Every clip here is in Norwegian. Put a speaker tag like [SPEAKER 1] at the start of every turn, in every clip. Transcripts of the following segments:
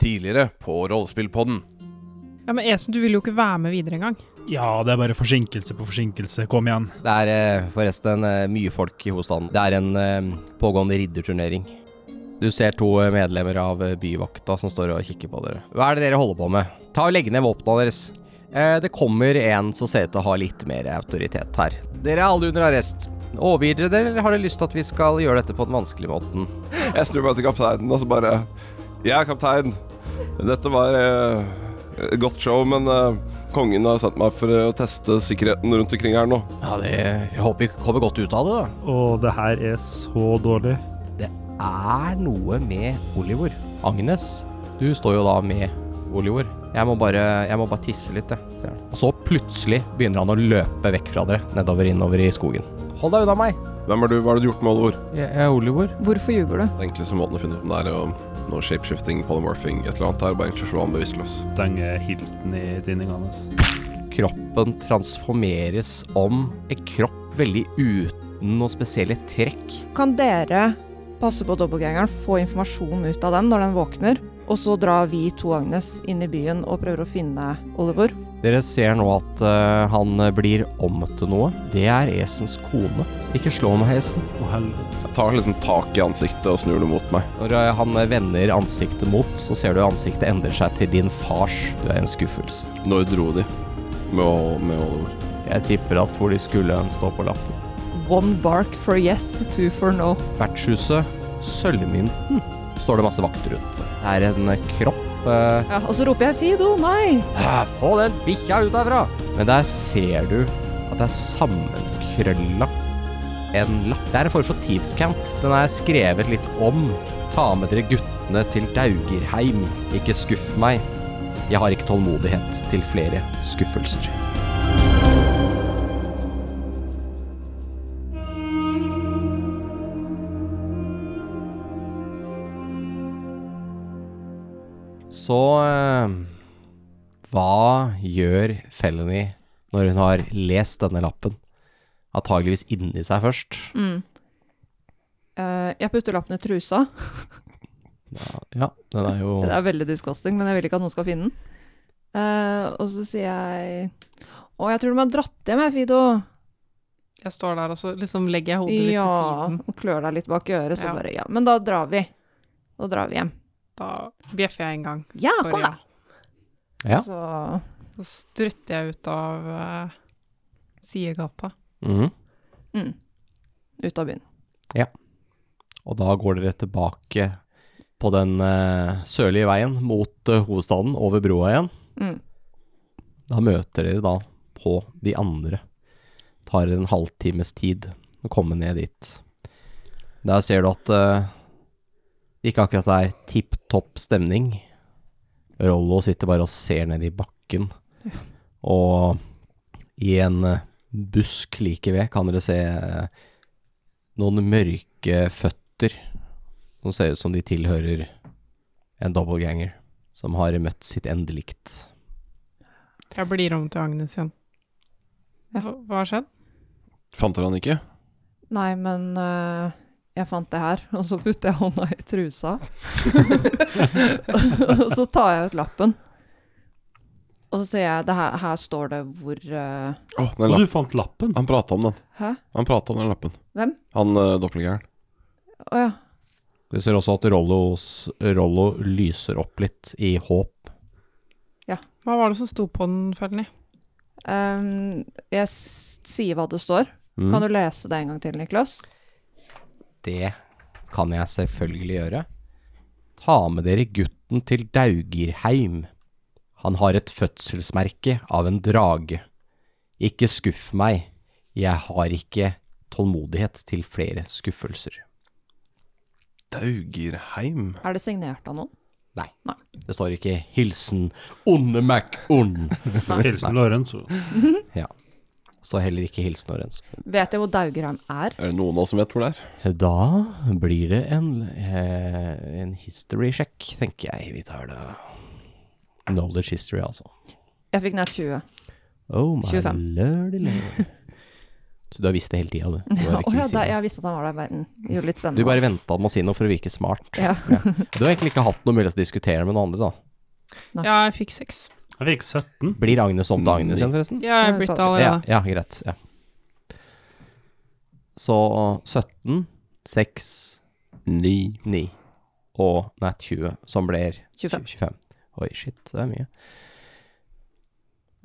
[SPEAKER 1] tidligere på Rollespillpodden.
[SPEAKER 2] Ja, Men Esen, du vil jo ikke være med videre engang.
[SPEAKER 3] Ja, det er bare forsinkelse på forsinkelse. Kom igjen.
[SPEAKER 4] Det er eh, forresten eh, mye folk i hovedstaden. Det er en eh, pågående ridderturnering. Du ser to eh, medlemmer av eh, byvakta som står og kikker på dere. Hva er det dere holder på med? Ta og Legg ned våpnene deres. Eh, Det kommer en som ser ut til å ha litt mer autoritet her. Dere er alle under arrest. Overgir dere dere, eller har dere lyst til at vi skal gjøre dette på den vanskelige måten?
[SPEAKER 5] Jeg snur meg til kapteinen og så bare Jeg er kaptein. Dette var eh, et godt show, men eh, kongen har sendt meg for eh, å teste sikkerheten rundt omkring her nå.
[SPEAKER 4] Ja, det jeg håper vi kommer godt ut av det, da.
[SPEAKER 3] Og det her er så dårlig.
[SPEAKER 4] Er noe med Oliver. Agnes, du står jo da med Oliver. Jeg må bare, jeg må bare tisse litt, jeg, sier han. Og så plutselig begynner han å løpe vekk fra dere, nedover innover i skogen. Hold deg unna meg.
[SPEAKER 5] Hvem er du? Hva har du gjort med Oliver?
[SPEAKER 4] Jeg jeg er Oliver.
[SPEAKER 6] Hvorfor ljuger du?
[SPEAKER 5] Den enkleste måten å finne ut om det er eh, noe shapeshifting, polymorphing, et eller annet her. Bare egentlig slå han bevisstløs.
[SPEAKER 3] Denge hilten i altså. tinninga hans.
[SPEAKER 4] Kroppen transformeres om en kropp veldig uten noen spesielle trekk.
[SPEAKER 6] Kan dere passe på dobbeltgjengeren, få informasjon ut av den når den våkner, og så drar vi to Agnes inn i byen og prøver å finne Oliver?
[SPEAKER 4] Dere ser nå at eh, han blir om til noe. Det er Esens kone. Ikke slå meg, Esen.
[SPEAKER 3] Å helvete.
[SPEAKER 5] Jeg tar liksom tak i ansiktet og snur det mot meg.
[SPEAKER 4] Når eh, han vender ansiktet mot, så ser du ansiktet endrer seg til din fars. Du er en skuffelse.
[SPEAKER 5] Når dro de med, med Oliver?
[SPEAKER 4] Jeg tipper at hvor de skulle en stå på lappen.
[SPEAKER 6] One bark for yes, two for no.
[SPEAKER 4] Vertshuset Sølvmynten står det masse vakter rundt. Det er en eh, kropp eh,
[SPEAKER 6] Ja, og så roper jeg Fido, nei!
[SPEAKER 4] «Ah, Få den bikkja ut herfra! Men der ser du at det er sammenkrølla en lapp. Det er en form for tipscant. Den er skrevet litt om. Ta med dere guttene til Daugerheim. Ikke skuff meg. Jeg har ikke tålmodighet til flere skuffelser. Så eh, hva gjør Felony når hun har lest denne lappen? Antageligvis inni seg først.
[SPEAKER 6] Eh, jeg putter lappen i trusa.
[SPEAKER 4] Ja, den er jo
[SPEAKER 6] Det er veldig disgusting, men jeg vil ikke at noen skal finne den. Eh, og så sier jeg Å, jeg tror de har dratt hjem, jeg, Fido.
[SPEAKER 2] Jeg står der og så liksom legger jeg hodet litt
[SPEAKER 6] Ja.
[SPEAKER 2] til siden.
[SPEAKER 6] Og klør deg litt bak øret, så
[SPEAKER 2] Ja.
[SPEAKER 6] bare Ja, men da drar vi. Da drar vi hjem.
[SPEAKER 2] Da bjeffer jeg en gang.
[SPEAKER 6] Ja,
[SPEAKER 2] Sorry,
[SPEAKER 6] kom da!
[SPEAKER 4] Ja.
[SPEAKER 6] Så
[SPEAKER 2] Så strutter jeg ut av eh, sidegata.
[SPEAKER 4] Mhm.
[SPEAKER 6] mm, ut av byen.
[SPEAKER 4] Og da går dere tilbake på den eh, sørlige veien mot eh, hovedstaden, over broa igjen.
[SPEAKER 6] Mm.
[SPEAKER 4] Da møter dere da på de andre. Tar en halvtimes tid å komme ned dit. Der ser du at eh, det ikke akkurat er tipp topp stemning. Rollo sitter bare og ser ned i bakken. Og i en eh, busk like ved kan dere se eh, noen mørke føtter som ser ut som de tilhører en dobbeltganger som har møtt sitt endelikt.
[SPEAKER 2] Jeg blir om til Agnes igjen. Hva hva har skjedd?
[SPEAKER 5] Fant dere han ikke?
[SPEAKER 6] Nei, men eh, jeg fant det her, og så putter jeg hånda i trusa. og så tar jeg ut lappen. Og så sier jeg det her, her står det hvor eh,
[SPEAKER 5] Å, den
[SPEAKER 3] Og
[SPEAKER 5] lappen.
[SPEAKER 3] du fant lappen?
[SPEAKER 5] Han prata om den.
[SPEAKER 6] Hæ?
[SPEAKER 5] Han prata om den lappen.
[SPEAKER 6] Hvem?
[SPEAKER 5] Han uh, doppelgæren.
[SPEAKER 6] Å ja.
[SPEAKER 4] Du ser også at Rollos, Rollo lyser opp litt i håp.
[SPEAKER 2] Hva var det som sto på den, Felny?
[SPEAKER 6] Ehm, jeg s- sier hva det står.
[SPEAKER 4] Mm.
[SPEAKER 6] Kan du lese det en gang til, Niklas?
[SPEAKER 4] Det kan jeg selvfølgelig gjøre. Ta med dere gutten til Daugirheim. Han har et fødselsmerke av en drage. Ikke skuff meg, jeg har ikke tålmodighet til flere skuffelser.
[SPEAKER 5] Daugerheim.
[SPEAKER 6] Er det signert av noen?
[SPEAKER 4] Nei,
[SPEAKER 6] Nei.
[SPEAKER 4] det står ikke 'Hilsen onde Mac-ond'.
[SPEAKER 3] Hilsen Lorenzo.
[SPEAKER 4] Ja. Står heller ikke 'Hilsen Orens'.
[SPEAKER 6] Vet jeg hvor Daugerheim er?
[SPEAKER 5] Er det noen av oss som vet hvor det er?
[SPEAKER 4] Da blir det en, eh, en history check, tenker jeg. Vi tar det Knowledge history, altså.
[SPEAKER 6] Jeg fikk ned 20.
[SPEAKER 4] Oh my
[SPEAKER 6] 25.
[SPEAKER 4] lordy lord. Du har visst det hele tida, du. du.
[SPEAKER 6] Ja,
[SPEAKER 4] har
[SPEAKER 6] å
[SPEAKER 4] ikke
[SPEAKER 6] ja,
[SPEAKER 4] visst
[SPEAKER 6] da,
[SPEAKER 4] det.
[SPEAKER 6] jeg visste at han var der, men det gjorde det litt
[SPEAKER 4] du
[SPEAKER 6] spennende.
[SPEAKER 4] bare venta med å si noe for å virke smart.
[SPEAKER 6] Ja.
[SPEAKER 4] Du har egentlig ikke hatt noe mulighet til å diskutere med noen andre, da.
[SPEAKER 2] Ja, jeg fikk seks.
[SPEAKER 3] Jeg fikk 17.
[SPEAKER 4] Blir Agnes om til Agnes igjen, forresten?
[SPEAKER 2] Ja, jeg
[SPEAKER 6] Mm. Ja,
[SPEAKER 2] bytta
[SPEAKER 6] sånn.
[SPEAKER 4] Ja,
[SPEAKER 2] allerede.
[SPEAKER 4] ja, greit. Ja. Så 17, 6, 9, 9 og nei, 20, som blir
[SPEAKER 6] 25.
[SPEAKER 4] 25. Oi, shit, det er mye.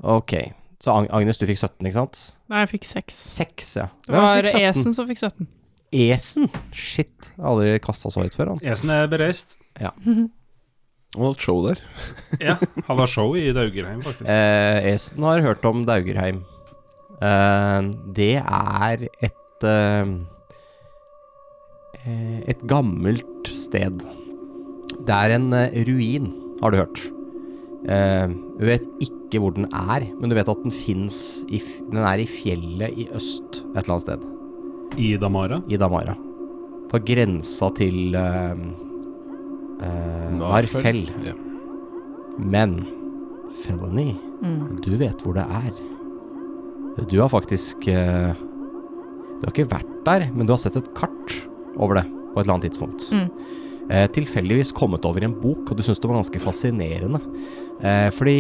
[SPEAKER 4] Ok, så Ag- Agnes, du fikk 17, ikke sant?
[SPEAKER 2] Nei, jeg fikk seks.
[SPEAKER 4] 6, ja.
[SPEAKER 2] Det var Esen som fikk 17.
[SPEAKER 4] Esen? Shit, jeg har aldri kasta så høyt før. Han.
[SPEAKER 3] Esen er bereist.
[SPEAKER 5] Han har hatt show der.
[SPEAKER 3] Ja, han var show i Daugerheim, faktisk.
[SPEAKER 4] Eh, Esen har hørt om Daugerheim. Eh, det er et eh, eh, Et gammelt sted. Det er en eh, ruin, har du hørt. Eh, du vet ikke hvor den er, men du vet at den fins i f Den er i fjellet i øst et eller annet sted.
[SPEAKER 3] I Damara.
[SPEAKER 4] I Damara. På grensa til eh, eh, Marfell.
[SPEAKER 5] Ja.
[SPEAKER 4] Men Felony,
[SPEAKER 6] Mm.
[SPEAKER 4] du vet hvor det er. Du har faktisk eh, Du har ikke vært der, men du har sett et kart over det på et eller annet tidspunkt.
[SPEAKER 6] Mm.
[SPEAKER 4] Eh, tilfeldigvis kommet over en bok, og du syns det var ganske fascinerende. Eh, fordi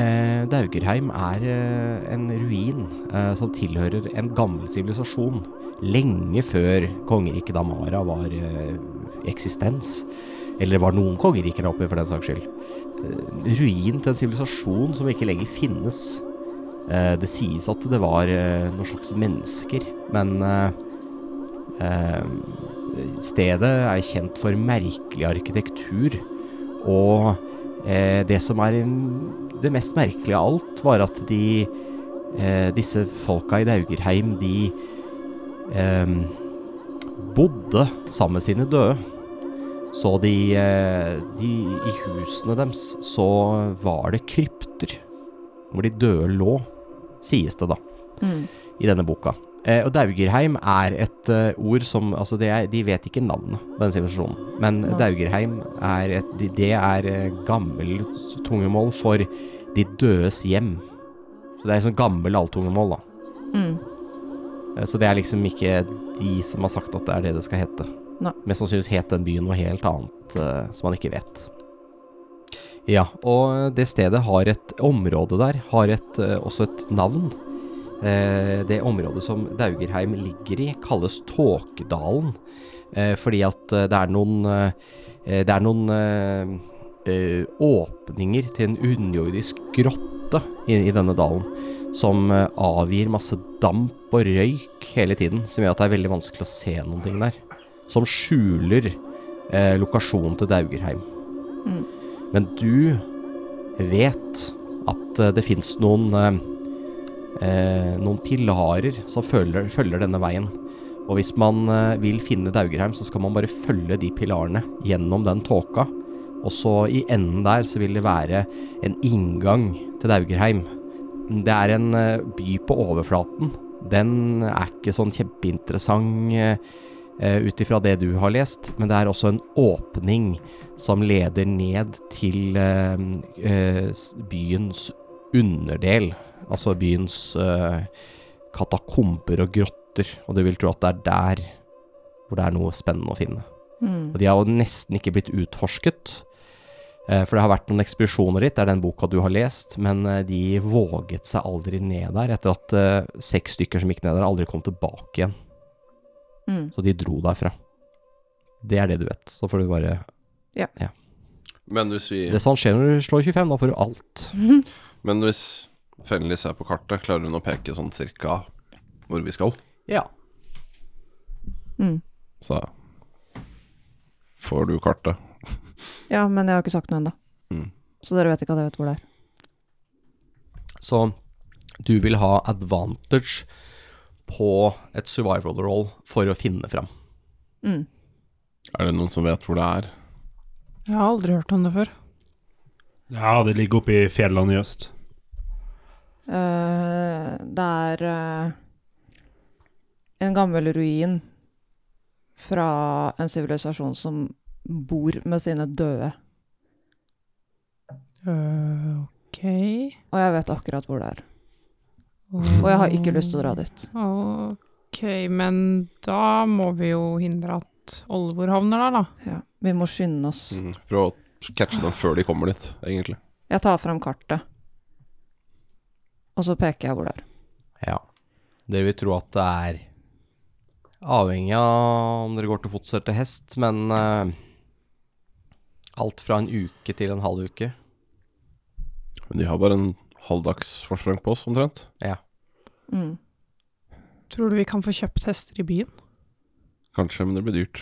[SPEAKER 4] eh, Daugerheim er eh, en ruin eh, som tilhører en gammel sivilisasjon. Lenge før kongeriket Damara var eh, i eksistens. Eller var noen kongeriker der oppe, for den saks skyld eh, ruin til en sivilisasjon som ikke lenger finnes. Eh, det sies at det var eh, noen slags mennesker, men eh, eh, stedet er kjent for merkelig arkitektur. Og eh, det som er mm, det mest merkelige av alt, var at de eh, disse folka i Daugerheim, de eh, bodde sammen med sine døde. Så de, eh, de I husene deres så var det krypter hvor de døde lå, sies det da,
[SPEAKER 6] Mm.
[SPEAKER 4] i denne boka. Eh, og Daugerheim er et eh, ord som Altså, det er, de vet ikke navnet på den sivilisasjonen, men
[SPEAKER 6] Nei.
[SPEAKER 4] Daugerheim er et de- Det er eh, gammel tungemål for de dødes hjem. Så det er sånn gammel alltungemål, da.
[SPEAKER 6] Mm.
[SPEAKER 4] Eh, Så det er liksom ikke de som har sagt at det er det det skal hete.
[SPEAKER 6] Nei.
[SPEAKER 4] Mest sannsynligvis het den byen noe helt annet eh, som man ikke vet. Ja, og det stedet har et område der, har et, eh, også et navn. Eh, det området som Daugerheim ligger i, kalles Tåkedalen. Eh, fordi at eh, det er noen eh, eh, Det er noen eh, eh, åpninger til en underjordisk grotte i, i denne dalen som eh, avgir masse damp og røyk hele tiden, som gjør at det er veldig vanskelig å se noen ting der. Som skjuler eh, lokasjonen til Daugerheim.
[SPEAKER 6] Mm.
[SPEAKER 4] Men du vet at eh, det fins noen eh, eh, noen pilarer som følger, følger denne veien. Og hvis man eh, vil finne Daugerheim, så skal man bare følge de pilarene gjennom den tåka. Og så i enden der så vil det være en inngang til Daugerheim. Det er en eh, by på overflaten. Den er ikke sånn kjempeinteressant eh, ut ifra det du har lest, men det er også en åpning som leder ned til eh, eh, s- byens underdel. Altså byens eh, katakomber og grotter, og du vil tro at det er der hvor det er noe spennende å finne.
[SPEAKER 6] Mm.
[SPEAKER 4] Og de har jo nesten ikke blitt utforsket. Eh, For det har vært noen ekspedisjoner dit, det er den boka du har lest, men eh, de våget seg aldri ned der, etter at eh, seks stykker som gikk ned der, aldri kom tilbake igjen.
[SPEAKER 6] Mm.
[SPEAKER 4] Så de dro derfra. Det er det du vet. Så får du bare
[SPEAKER 5] Men hvis vi
[SPEAKER 4] Det er sånn skjer når du slår 25, da får du alt.
[SPEAKER 5] Men hvis Fenlis er på kartet, klarer hun å peke sånn cirka hvor vi skal?
[SPEAKER 4] Ja.
[SPEAKER 6] Mm.
[SPEAKER 5] Så får du kartet.
[SPEAKER 6] Ja, men jeg har ikke sagt noe ennå.
[SPEAKER 5] Mm.
[SPEAKER 6] Så dere vet ikke at jeg vet hvor det er.
[SPEAKER 4] Så du vil ha advantage på et survival roll for å finne fram.
[SPEAKER 6] Mm.
[SPEAKER 5] Er det noen som vet hvor det er?
[SPEAKER 2] Jeg har aldri hørt om det før.
[SPEAKER 3] Ja, det ligger oppe i fjellene i øst.
[SPEAKER 6] Eh, det er eh, en gammel ruin fra en sivilisasjon som bor med sine døde.
[SPEAKER 2] Øh, ok
[SPEAKER 6] Og jeg vet akkurat hvor det er. Og jeg har ikke lyst til å dra dit.
[SPEAKER 2] Ok Ok, men da må vi jo hindre at Olvor havner der, da.
[SPEAKER 6] Ja, vi må skynde oss.
[SPEAKER 5] Mm. Prøv å catche dem før de kommer dit, egentlig.
[SPEAKER 6] Jeg tar fram kartet. Og så peker jeg hvor det er.
[SPEAKER 4] Ja. Dere vil tro at det er avhengig av om dere går til fots eller til hest, men eh, alt fra en uke til en halv uke.
[SPEAKER 5] Men de har bare en halvdags forsprang på oss, omtrent.
[SPEAKER 4] Ja.
[SPEAKER 6] Mm.
[SPEAKER 2] Tror du vi kan få kjøpt hester i byen?
[SPEAKER 5] Kanskje, men det blir dyrt.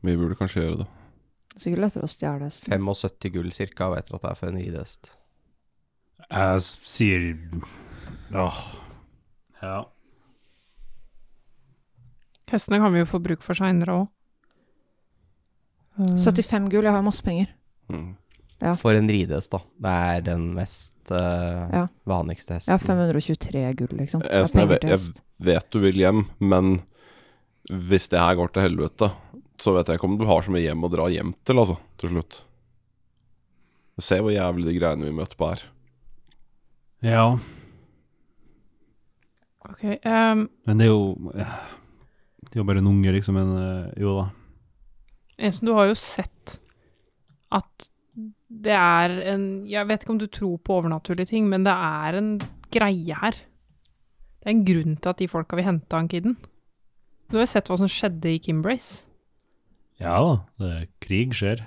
[SPEAKER 5] Vi burde kanskje gjøre det.
[SPEAKER 6] Det er Sikkert lettere å stjele hesten.
[SPEAKER 4] 75 gull cirka, vet dere at det er for en ridehest.
[SPEAKER 3] Jeg s- sier Åh. Ja.
[SPEAKER 2] Hestene kan vi jo få bruk for seinere òg.
[SPEAKER 6] 75 gull, jeg har masse penger.
[SPEAKER 5] Mm.
[SPEAKER 4] For en ridehest, da. Det er den mest eh,
[SPEAKER 6] Ja.
[SPEAKER 4] vanligste
[SPEAKER 6] Jeg
[SPEAKER 4] hesten.
[SPEAKER 6] har 523 gull, liksom. Jeg
[SPEAKER 5] Jeg,
[SPEAKER 6] har
[SPEAKER 5] sånn, jeg,
[SPEAKER 6] penger
[SPEAKER 5] vet,
[SPEAKER 6] til hest.
[SPEAKER 5] jeg vet du vil hjem, men hvis det her går til helvete, så vet jeg ikke om du har så mye hjem å dra hjem til, altså, til slutt. Se hvor jævlig de greiene vi møter på her.
[SPEAKER 3] ja.
[SPEAKER 2] Ok, ehm,
[SPEAKER 3] Men det er jo ja. Det er jo bare en unge, liksom. Men eh, jo da.
[SPEAKER 2] Ensen, du har jo sett at det er en Jeg vet ikke om du tror på overnaturlige ting, men det er en greie her. Det er en grunn til at de folka vil hente han kiden. Du har jo sett hva som skjedde i Kimbrace.
[SPEAKER 3] Ja da. Det er krig skjer.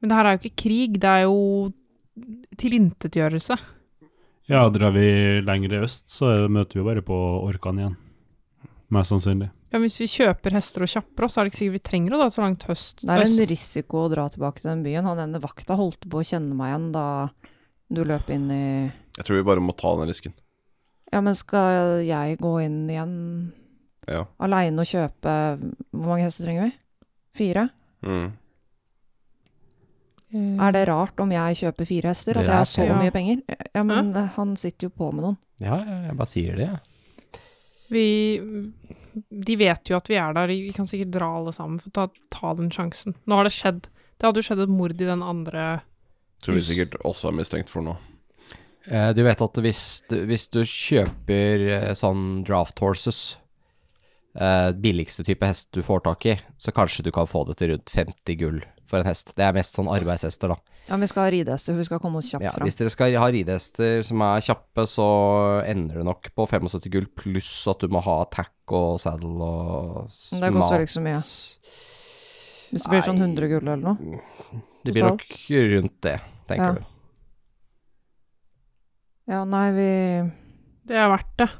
[SPEAKER 2] Men det her er jo ikke krig, det er jo tilintetgjørelse.
[SPEAKER 3] Ja, drar vi lenger i øst, så møter vi jo bare på orkan igjen. Mest sannsynlig.
[SPEAKER 2] Ja, men hvis vi kjøper hester og kjapper oss, så er det ikke sikkert vi trenger å dra så langt høst.
[SPEAKER 6] Det er
[SPEAKER 2] øst.
[SPEAKER 6] en risiko å dra tilbake til den byen. Han ene vakta holdt på å kjenne meg igjen da du løp inn i
[SPEAKER 5] Jeg tror vi bare må ta den risken.
[SPEAKER 6] Ja, men skal jeg gå inn igjen
[SPEAKER 5] Ja.
[SPEAKER 6] aleine og kjøpe Hvor mange hester trenger vi? Fire?
[SPEAKER 5] Mm.
[SPEAKER 2] Eh,
[SPEAKER 6] Er det rart om jeg kjøper fire hester? At
[SPEAKER 4] Dere
[SPEAKER 6] jeg
[SPEAKER 4] er
[SPEAKER 6] har så
[SPEAKER 2] fire.
[SPEAKER 6] mye penger? Ja, men han sitter jo på med noen.
[SPEAKER 4] Ja, ja, jeg bare sier det, jeg.
[SPEAKER 2] Vi De vet jo at vi er der, vi kan sikkert dra alle sammen for å ta, ta den sjansen. Nå har det skjedd. Det hadde jo skjedd et mord i den andre
[SPEAKER 5] Tror vi
[SPEAKER 2] Hus.
[SPEAKER 5] sikkert også er mistenkt for noe.
[SPEAKER 4] Eh, Du vet at hvis, du- hvis du kjøper eh, sånn draft horses, eh, billigste type hest du får tak i, så kanskje du kan få det til rundt 50 gull for en hest. Det er mest sånn arbeidshester, da.
[SPEAKER 6] Ja, men vi skal ha ridehester, for vi skal komme oss kjapt
[SPEAKER 4] Ja,
[SPEAKER 6] fram.
[SPEAKER 4] hvis dere skal ha ridehester som er kjappe, så ender det nok på 75 gull, pluss at du må ha tack og saddle og s-
[SPEAKER 6] Men det koster ikke så mye. Hvis det blir sånn 100 gull eller noe.
[SPEAKER 4] Det blir nok rundt det, tenker
[SPEAKER 6] Ja.
[SPEAKER 4] du.
[SPEAKER 6] Ja, nei, vi
[SPEAKER 2] Det er verdt det.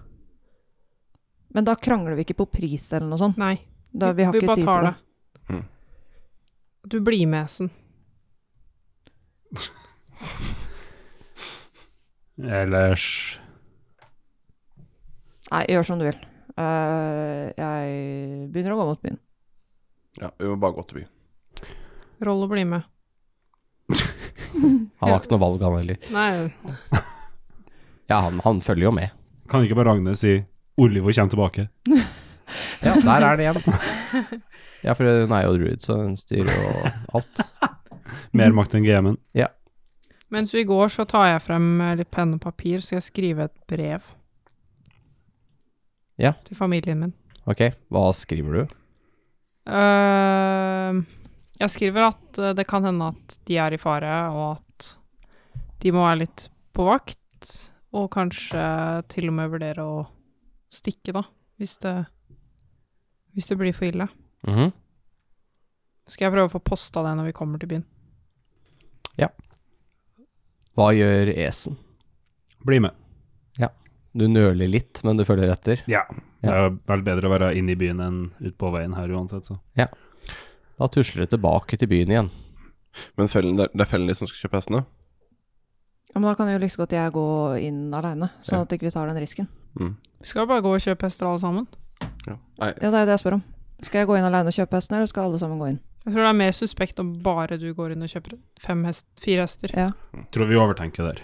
[SPEAKER 6] Men da krangler vi ikke på pris eller noe sånt.
[SPEAKER 2] Nei,
[SPEAKER 6] Da, vi har ikke tid til det.
[SPEAKER 5] Mm.
[SPEAKER 2] Du blir med, Esen.
[SPEAKER 3] Ellers
[SPEAKER 6] Nei, gjør som du vil. Eh, jeg begynner å gå mot byen.
[SPEAKER 5] Ja, vi må bare gå til byen.
[SPEAKER 2] Rollo blir med.
[SPEAKER 4] Han har ikke noe valg, han heller.
[SPEAKER 2] Nei,
[SPEAKER 4] Ja, han, han følger jo med.
[SPEAKER 3] kan ikke bare Agnes si 'Oliver kommer tilbake'.
[SPEAKER 4] Ja, der er det igjen. Ja, for hun er jo druid, så hun styrer jo alt.
[SPEAKER 3] Mer makt enn GM-en.
[SPEAKER 2] mens vi går, så tar jeg frem eh, litt penn og papir, så skal jeg skrive et brev.
[SPEAKER 4] Ja.
[SPEAKER 2] Til familien min.
[SPEAKER 4] Ok, hva skriver du?
[SPEAKER 2] Eh, jeg skriver at eh, det kan hende at de er i fare, og at de må være litt på vakt. Og kanskje til og med vurdere å stikke, da, hvis det, hvis det blir for ille. Skal jeg prøve å få posta det når vi kommer til byen.
[SPEAKER 4] Hva gjør esen?
[SPEAKER 3] Bli med.
[SPEAKER 4] Du nøler litt, men du følger etter.
[SPEAKER 3] Ja. Det er vel bedre å være inne i byen enn ute på veien her uansett, så.
[SPEAKER 4] Da tusler du tilbake til byen igjen.
[SPEAKER 5] Men fellen, det er- det er fellen de som skal kjøpe hestene?
[SPEAKER 6] Ja, men da kan jo like så godt jeg gå inn aleine, sånn at ikke vi ikke tar den risken.
[SPEAKER 5] Mm.
[SPEAKER 2] Vi skal bare gå og kjøpe hester alle sammen.
[SPEAKER 5] Ja. Nei,
[SPEAKER 6] Ja, det er det jeg spør om. Skal jeg gå inn aleine og kjøpe hesten, eller skal alle sammen gå inn?
[SPEAKER 2] Jeg tror det er mer suspekt om bare du går inn og kjøper fem hest, fire hester.
[SPEAKER 6] Ja.
[SPEAKER 3] Tror vi overtenker der.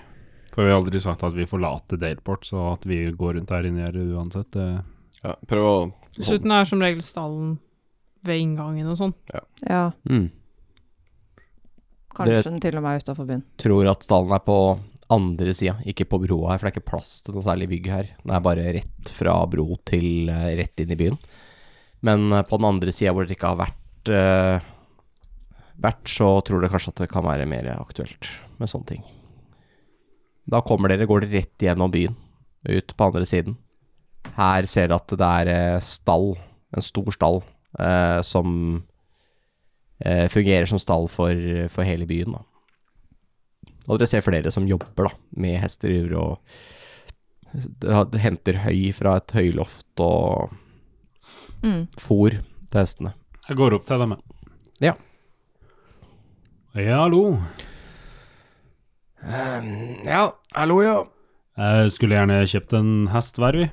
[SPEAKER 3] For vi har aldri sagt at vi forlater Daleport, så at vi går rundt her inne her uansett det-
[SPEAKER 5] ja, prøv å
[SPEAKER 2] Dessuten er som regel stallen ved inngangen og sånn.
[SPEAKER 6] ja
[SPEAKER 4] Mm.
[SPEAKER 6] kanskje den til og med er utafor byen.
[SPEAKER 4] Tror at stallen er på andre sida, ikke på broa her, for det er ikke plass til noe særlig bygg her. Det er bare rett fra bro til eh, rett inn i byen. Men eh, på den andre sida hvor dere ikke har vært, eh, vært, så tror dere kanskje at det kan være mer aktuelt med sånne ting. Da kommer dere, går dere rett gjennom byen, ut på andre siden. Her ser dere at det er eh, stall, en stor stall, eh, som eh, fungerer som stall for, for hele byen, da. Og dere ser flere som jobber da, med hester i ur og d- henter høy fra et høyloft og
[SPEAKER 6] Mm.
[SPEAKER 4] fôr til hestene.
[SPEAKER 3] Jeg går opp til dem,
[SPEAKER 4] Ja.
[SPEAKER 3] Ja, hallo.
[SPEAKER 4] ja, hallo, ja.
[SPEAKER 3] Jeg skulle gjerne kjøpt en hest hver, vi.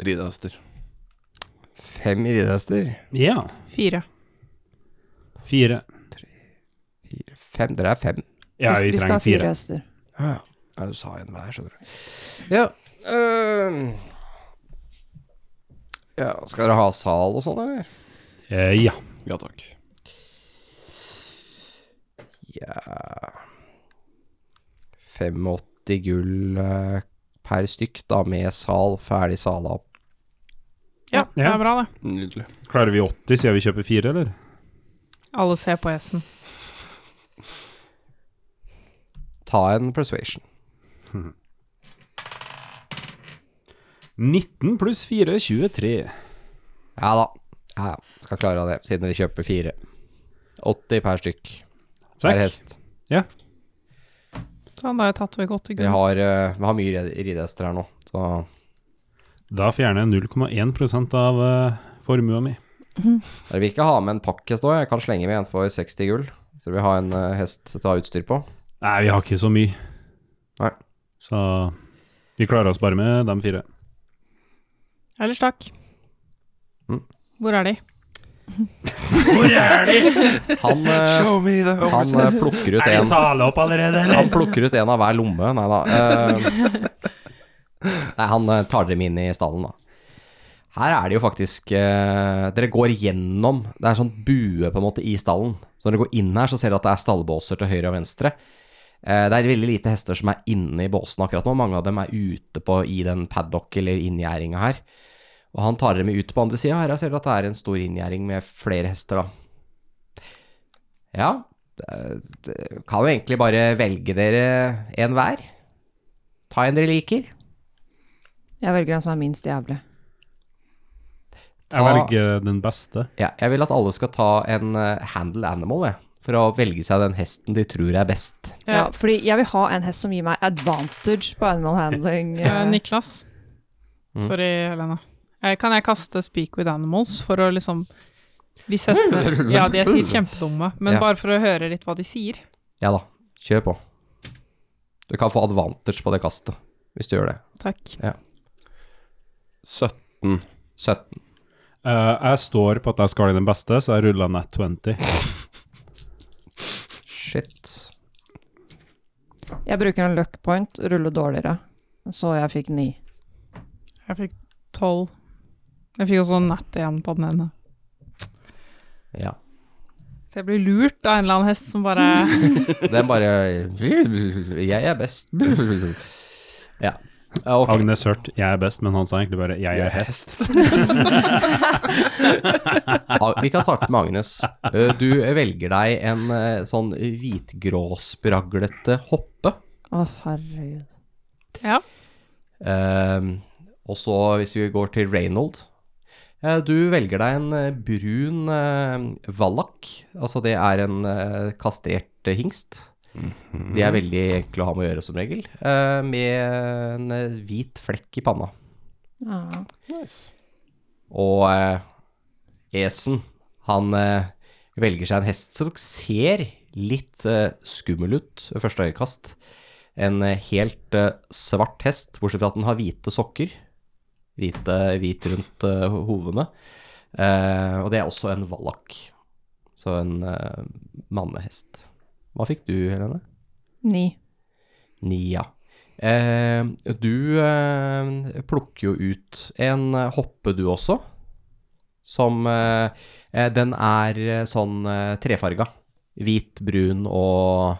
[SPEAKER 5] Ridehester.
[SPEAKER 4] Fem ridehester.
[SPEAKER 3] Ja.
[SPEAKER 2] Fire.
[SPEAKER 3] Fire.
[SPEAKER 4] Fire, fem, dere er fem.
[SPEAKER 3] Ja, vi,
[SPEAKER 6] vi skal ha
[SPEAKER 3] trenger
[SPEAKER 6] fire
[SPEAKER 3] fire.
[SPEAKER 6] hester.
[SPEAKER 4] Ja, du sa en hver, skjønner du. Ja, øhm. ja, skal dere ha sal og sånn, eller?
[SPEAKER 3] Eh, ja.
[SPEAKER 5] Ja takk.
[SPEAKER 4] Ja 85 gull eh, per stykk, da, med sal, ferdig sala opp.
[SPEAKER 2] Ja, det
[SPEAKER 3] Ja.
[SPEAKER 2] er bra, det.
[SPEAKER 5] Nydelig.
[SPEAKER 3] Klarer vi 80 siden vi kjøper fire, eller?
[SPEAKER 2] Alle ser på S-en.
[SPEAKER 4] Ta en persuasion.
[SPEAKER 3] 19 pluss 4, 23.
[SPEAKER 4] Ja da. Ja, ja. skal klare det, siden dere kjøper fire. 80 per stykk. Per
[SPEAKER 3] Takk.
[SPEAKER 4] hest.
[SPEAKER 2] Sånn, da har jeg tatt vekk åtte
[SPEAKER 4] Vi
[SPEAKER 2] gull.
[SPEAKER 4] har, eh, vi har mye rid- ridehester her nå, så
[SPEAKER 3] Da fjerner jeg 0,1 av uh, formua mi.
[SPEAKER 4] Dere vil ikke ha med en pakkhest òg? Jeg kan slenge med en for 60 gull. Så dere vil ha en eh, hest til å ha utstyr på?
[SPEAKER 3] Nei, vi har ikke så mye.
[SPEAKER 4] Nei.
[SPEAKER 3] Så vi klarer oss bare med de fire.
[SPEAKER 2] Ellers takk.
[SPEAKER 4] Mm.
[SPEAKER 2] Hvor er de?
[SPEAKER 4] Han, eh,
[SPEAKER 5] Show me the
[SPEAKER 4] han eh, plukker ut en
[SPEAKER 3] sale opp allerede,
[SPEAKER 4] Han plukker ut en av hver lomme, nei da. Eh, nei, han eh, tar dem inn i stallen, da. Her er det jo faktisk eh, Dere går gjennom Det er sånn bue på en måte i stallen. Så når dere går inn her, så ser dere at det er stallbåser til høyre og venstre. Eh, det er veldig lite hester som er inne i båsene akkurat nå. Mange av dem er ute på, i den paddock eller inngjerdinga her. Og han tar dem med ut på andre sida. Her ser dere at det er en stor inngjerding med flere hester, da. Ja, kan jo egentlig bare velge dere en hver. Ta en dere liker.
[SPEAKER 6] Jeg velger den som er minst jævlig.
[SPEAKER 3] Jeg velger den beste.
[SPEAKER 4] Ja, jeg vil at alle skal ta en eh, handle animal, jeg. For å velge seg den hesten de tror er best.
[SPEAKER 2] Ja.
[SPEAKER 6] Ja, fordi jeg vil ha en hest som gir meg advantage på animal handling.
[SPEAKER 2] Eh,
[SPEAKER 6] eh,
[SPEAKER 2] Niklas.
[SPEAKER 4] Mm.
[SPEAKER 2] Sorry, Helena. Eh, Kan jeg kaste Speak with Animals for å liksom Hvis hestene Ja, de er sikkert kjempedumme, men
[SPEAKER 4] Ja.
[SPEAKER 2] bare for å høre litt hva de sier.
[SPEAKER 4] Ja da, kjør på. Du kan få advantage på det kastet, hvis du gjør det.
[SPEAKER 2] Takk.
[SPEAKER 5] 17.
[SPEAKER 4] 17.
[SPEAKER 3] Eh, jeg står på at jeg skal ha den beste, så jeg ruller nett 20.
[SPEAKER 4] Shit.
[SPEAKER 6] Jeg bruker en luck point, ruller dårligere. Så jeg fikk ni.
[SPEAKER 2] Jeg fikk tolv. Jeg fikk også en natt igjen på den ene.
[SPEAKER 4] Ja.
[SPEAKER 2] Så jeg blir lurt av en eller annen hest som bare
[SPEAKER 4] Den bare Jeg er best. Ja. Ja, ok.
[SPEAKER 3] Agnes Hurt, jeg er best, men han sa egentlig bare 'jeg er hest'.
[SPEAKER 4] Ah, Vi kan starte med Agnes. Eh, Du velger deg en eh, sånn hvitgråspraglete hoppe.
[SPEAKER 6] Å, herregud.
[SPEAKER 2] Ja.
[SPEAKER 4] Ehm, og så hvis vi går til Reynold eh, Du velger deg en eh, brun eh, vallak. Altså det er en eh, kastrert eh, hingst. De er veldig enkle å ha med å gjøre som regel. eh, med en eh, hvit flekk i panna.
[SPEAKER 6] Ja.
[SPEAKER 4] Og eh, Esen, han eh, velger seg en hest som ser litt eh, skummel ut ved første øyekast. En eh, helt eh, svart hest, bortsett fra at den har hvite sokker. Hvite, hvit rundt eh, hovene. Eh, og det er også en vallak. Så en eh, mannehest. Hva fikk du, Helene?
[SPEAKER 6] Ni.
[SPEAKER 4] Nia. Eh, du eh, plukker jo ut en eh, hoppe, du også. Som eh, eh, Den er eh, sånn eh, trefarga. Hvit, brun og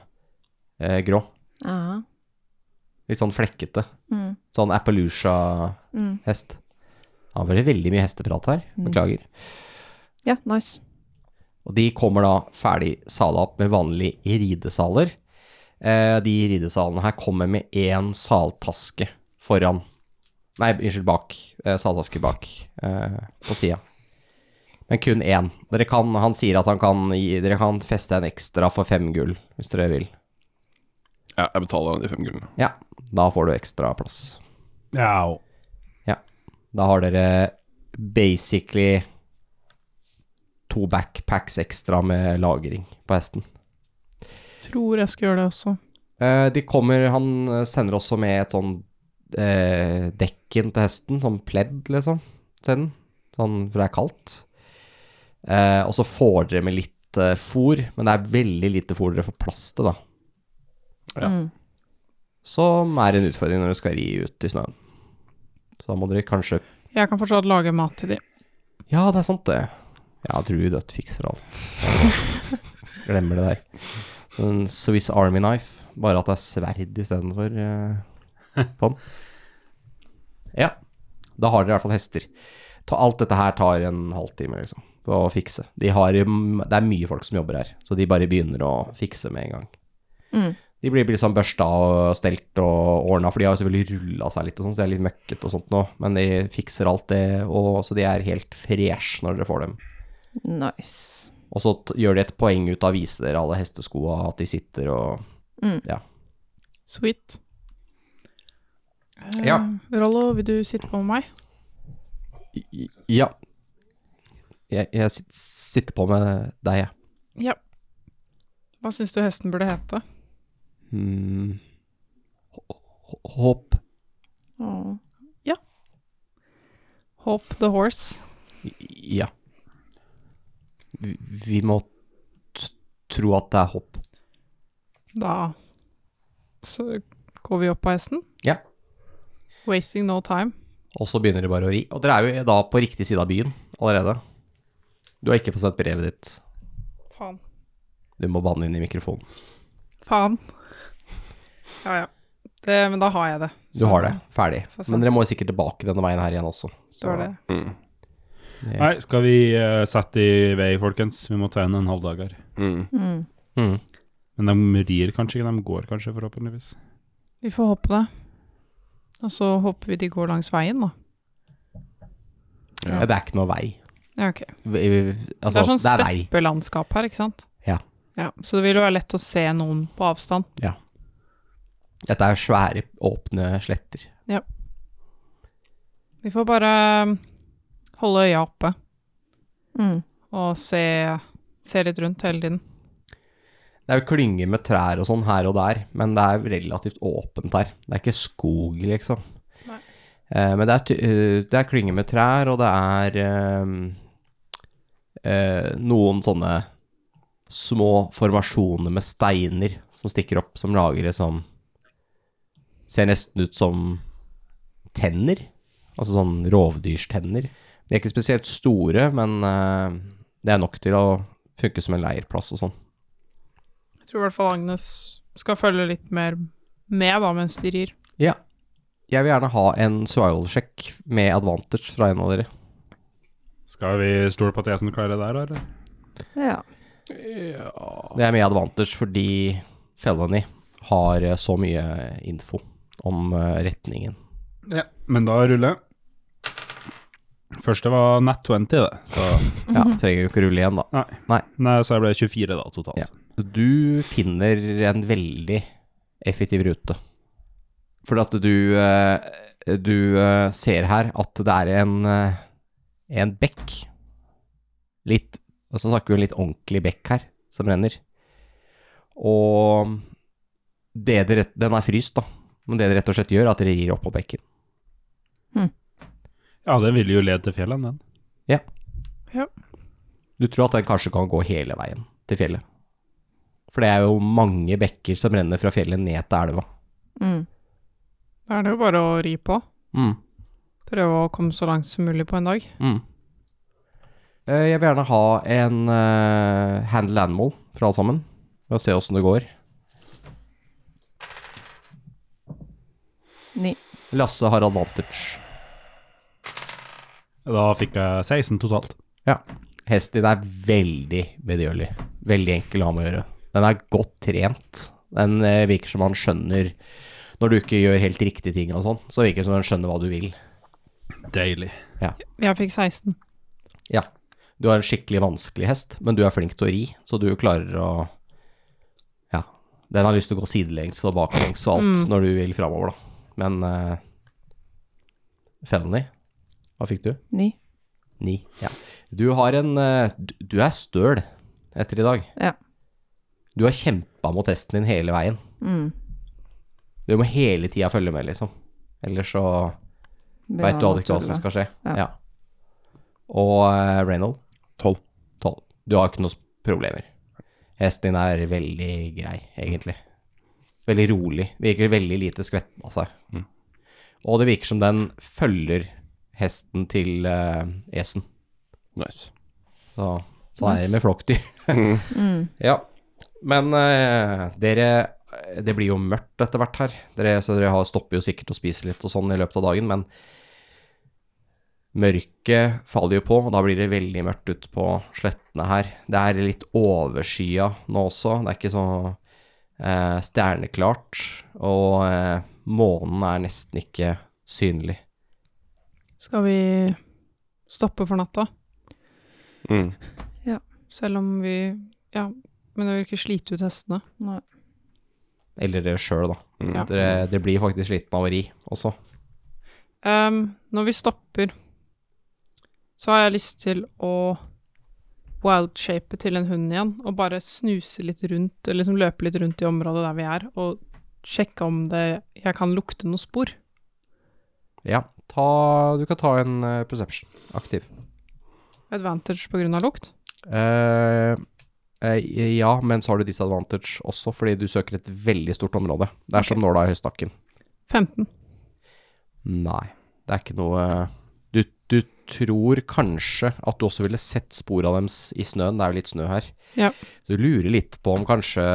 [SPEAKER 4] eh, grå.
[SPEAKER 6] Ja.
[SPEAKER 4] Litt sånn flekkete.
[SPEAKER 6] Mm.
[SPEAKER 4] Sånn Appaloosa-hest.
[SPEAKER 6] Mm.
[SPEAKER 4] Da blir det veldig mye hesteprat her.
[SPEAKER 6] Mm.
[SPEAKER 4] Beklager.
[SPEAKER 6] Ja, nice.
[SPEAKER 4] Og de kommer da ferdig sala opp med vanlige ridesaler. Eh, de ridesalene her kommer med én saltaske foran. Nei, unnskyld, bak. Eh, saltaske bak eh, på sida. Men kun én. Dere kan, han sier at han kan gi, dere kan feste en ekstra for fem gull, hvis dere vil.
[SPEAKER 5] Ja, jeg betaler han de fem gullene.
[SPEAKER 4] Ja, da får du ekstra plass.
[SPEAKER 3] Au.
[SPEAKER 4] Da har dere basically to backpacks ekstra med lagring på hesten.
[SPEAKER 2] Tror jeg skal gjøre det også.
[SPEAKER 4] Eh, de kommer, han eh, sender også med et sånn eh, dekken til hesten, sånn pledd, liksom, til den, sånn, for det er kaldt. Eh, og så får dere med litt eh, fôr, men det er veldig lite fôr dere får plass til, da.
[SPEAKER 3] Ja.
[SPEAKER 6] Mm.
[SPEAKER 4] Som er en utfordring når dere skal ri ut i snøen. Så da må dere kanskje
[SPEAKER 2] Jeg kan fortsatt lage mat til de.
[SPEAKER 4] Ja, det er sant, det. Ja, Druidøtt fikser alt. Glemmer det der. En Swiss Army Knife, bare at det er sverd istedenfor uh, på den. Ja, da har dere i hvert fall hester. Ta, alt dette her tar en halvtime, liksom, å fikse. De har, mm, det er mye folk som jobber her, så de bare begynner å fikse med en gang.
[SPEAKER 6] Mm.
[SPEAKER 4] De blir liksom børsta og stelt og ordna, for de har jo selvfølgelig rulla seg litt og sånn, så de er litt møkkete og sånt nå, men de fikser alt det, og så de er helt fresh når dere får dem.
[SPEAKER 6] Nice.
[SPEAKER 4] Og så t gjør de et poeng ut av å vise dere alle hesteskoa, at de sitter og
[SPEAKER 6] Mm.
[SPEAKER 2] Sweet. Eh,
[SPEAKER 4] Ja.
[SPEAKER 2] Rollo, vil du sitte på med meg?
[SPEAKER 4] I- Ja. Jeg, jeg sit- sitter på med deg, jeg.
[SPEAKER 2] Ja. Hva syns du hesten burde hete?
[SPEAKER 4] Hmm. H- h- Håp
[SPEAKER 6] Åh.
[SPEAKER 2] Hope the horse.
[SPEAKER 4] I- Ja. Vi, vi må t tro at det er håp.
[SPEAKER 2] Da så går vi opp på hesten.
[SPEAKER 4] Ja.
[SPEAKER 2] Wasting no time.
[SPEAKER 4] Og så begynner de bare å ri. Og dere er jo da på riktig side av byen allerede. Du har ikke fått sett brevet ditt.
[SPEAKER 2] Faen.
[SPEAKER 4] Du må banne inn i mikrofonen.
[SPEAKER 2] Faen. Ja, ja. Det, men da har jeg det.
[SPEAKER 4] Du har det. Ferdig.
[SPEAKER 2] For sant.
[SPEAKER 4] Men dere må jo sikkert tilbake denne veien her igjen også.
[SPEAKER 2] Så er det.
[SPEAKER 5] Mm.
[SPEAKER 4] Ja.
[SPEAKER 3] Nei, skal vi eh, sette i vei, folkens? Vi må ta inn en halv dag her.
[SPEAKER 5] Mm.
[SPEAKER 6] Mm.
[SPEAKER 4] Mm.
[SPEAKER 3] Men de rir kanskje ikke, de går kanskje, forhåpentligvis.
[SPEAKER 2] Vi får håpe det. Og så håper vi de går langs veien, da.
[SPEAKER 4] Ja. Det er ikke noe vei.
[SPEAKER 2] Ja, ok.
[SPEAKER 4] Vi- vi- Altså,
[SPEAKER 2] det er sånn
[SPEAKER 4] det er vei.
[SPEAKER 2] steppelandskap her, ikke sant?
[SPEAKER 4] Ja.
[SPEAKER 2] ja. Så det vil jo være lett å se noen på avstand.
[SPEAKER 4] Dette er svære, åpne sletter.
[SPEAKER 2] Vi får bare um, holde øya oppe
[SPEAKER 6] Mm.
[SPEAKER 2] og se, se litt rundt hele tiden.
[SPEAKER 4] Det er jo klynger med trær og sånn her og der, men det er relativt åpent her. Det er ikke skog, liksom.
[SPEAKER 2] Nei.
[SPEAKER 4] Eh, men det er, ty- eh, det er klynger med trær, og det er ehm, eh, noen sånne små formasjoner med steiner som stikker opp, som lager det som Ser nesten ut som tenner. Altså sånn rovdyrstenner. De er ikke spesielt store, men eh, det er nok til å funke som en leirplass og sånn.
[SPEAKER 2] Jeg tror i hvert fall Agnes skal følge litt mer med da, mens de rir.
[SPEAKER 4] Ja. Jeg vil gjerne ha en survival-sjekk med advantage fra en av dere.
[SPEAKER 3] Skal vi stole på at jeg som klarer det der, eller?
[SPEAKER 6] Ja.
[SPEAKER 4] Det er med advantage fordi Felony har eh, så mye info om eh, retningen.
[SPEAKER 3] Ja. Men da ruller jeg. Første var nat 20, det. Så,
[SPEAKER 4] Ja, trenger jo ikke rulle igjen, da.
[SPEAKER 3] nei, så jeg ble 24 da, totalt.
[SPEAKER 4] Ja. Du finner en veldig effektiv rute. For at du eh, Du eh, ser her at det er en eh, En bekk. Litt Og så snakker vi en litt ordentlig bekk her, som renner. Og det dere, Den er fryst, da. Men det det rett og slett gjør, er at dere gir opp på bekken.
[SPEAKER 3] Ja, den ville jo lede til fjellene, den.
[SPEAKER 4] Du tror at den kanskje kan gå hele veien til fjellet. For det er jo mange bekker som renner fra fjellet ned til elva.
[SPEAKER 6] Mm.
[SPEAKER 2] Da er det jo bare å ri på.
[SPEAKER 4] Mm.
[SPEAKER 2] Prøve å komme så langt som mulig på en dag.
[SPEAKER 4] Mm. Eh, Jeg vil gjerne ha en eh, handle animal fra alle sammen. Vi får se åssen det går.
[SPEAKER 6] Ni.
[SPEAKER 4] Lasse har advantage.
[SPEAKER 7] Da fikk jeg 16 totalt.
[SPEAKER 4] Hesten din er veldig medgjørlig. Veldig enkel å ha med å gjøre. Den er godt trent. Den eh, virker som han skjønner Når du ikke gjør helt riktige ting og sånn, så virker det som den skjønner hva du vil.
[SPEAKER 7] Deilig.
[SPEAKER 2] Jeg fikk 16.
[SPEAKER 4] Ja. Du har en skikkelig vanskelig hest, men du er flink til å ri, så du klarer å Ja. Den har lyst til å gå sidelengs og baklengs og alt
[SPEAKER 2] Mm.
[SPEAKER 4] når du vil framover, da. Men uh, Felony, hva fikk du?
[SPEAKER 6] Ni.
[SPEAKER 4] Ni. Ja. Du har en eh, du- Du er støl etter i dag.
[SPEAKER 6] Ja.
[SPEAKER 4] Du har kjempa mot hesten din hele veien.
[SPEAKER 6] Mm.
[SPEAKER 4] Du må hele tida følge med, liksom. Ellers så veit du aldri hva som skal skje.
[SPEAKER 6] Ja.
[SPEAKER 4] Ja. Og uh, Reynold?
[SPEAKER 5] Tolv.
[SPEAKER 4] Tolv. Du har ikke noen s- problemer. Hesten din er veldig grei, egentlig. Veldig rolig. Virker veldig lite skvetten av seg. Og det virker som den følger hesten til eh, esen.
[SPEAKER 5] Nice.
[SPEAKER 4] Så sånn er det med flokkdyr.
[SPEAKER 6] Mm.
[SPEAKER 4] Ja. Men eh, dere Det blir jo mørkt etter hvert her, dere, så dere har, stopper jo sikkert å spise litt og sånn i løpet av dagen, men mørket faller jo på, og da blir det veldig mørkt ute på slettene her. Det er litt overskya nå også, det er ikke så eh, stjerneklart, og eh, månen er nesten ikke synlig.
[SPEAKER 2] Skal vi stoppe for natta?
[SPEAKER 5] Mm.
[SPEAKER 2] Selv om vi Ja, men jeg vil ikke slite ut hestene.
[SPEAKER 6] Nei.
[SPEAKER 4] Eller dere sjøl, da.
[SPEAKER 5] Mm.
[SPEAKER 2] Ja.
[SPEAKER 4] Dere, dere blir faktisk slitne av å ri også.
[SPEAKER 2] Ehm, når vi stopper, så har jeg lyst til å wildshape til en hund igjen, og bare snuse litt rundt, eller liksom løpe litt rundt i området der vi er, og sjekke om det, jeg kan lukte noen spor.
[SPEAKER 4] Ja, ta, du kan ta en eh, perception aktiv.
[SPEAKER 2] Advantage på grunn av lukt.
[SPEAKER 4] Eh, eh, ja, men så har du disadvantage også, fordi du søker et veldig stort område. Det er som nåla i høystakken.
[SPEAKER 2] 15.
[SPEAKER 4] Nei, det er ikke noe du, du tror kanskje at du også ville sett spor av dems i snøen. Det er jo litt snø her.
[SPEAKER 2] Ja.
[SPEAKER 4] Du lurer litt på om kanskje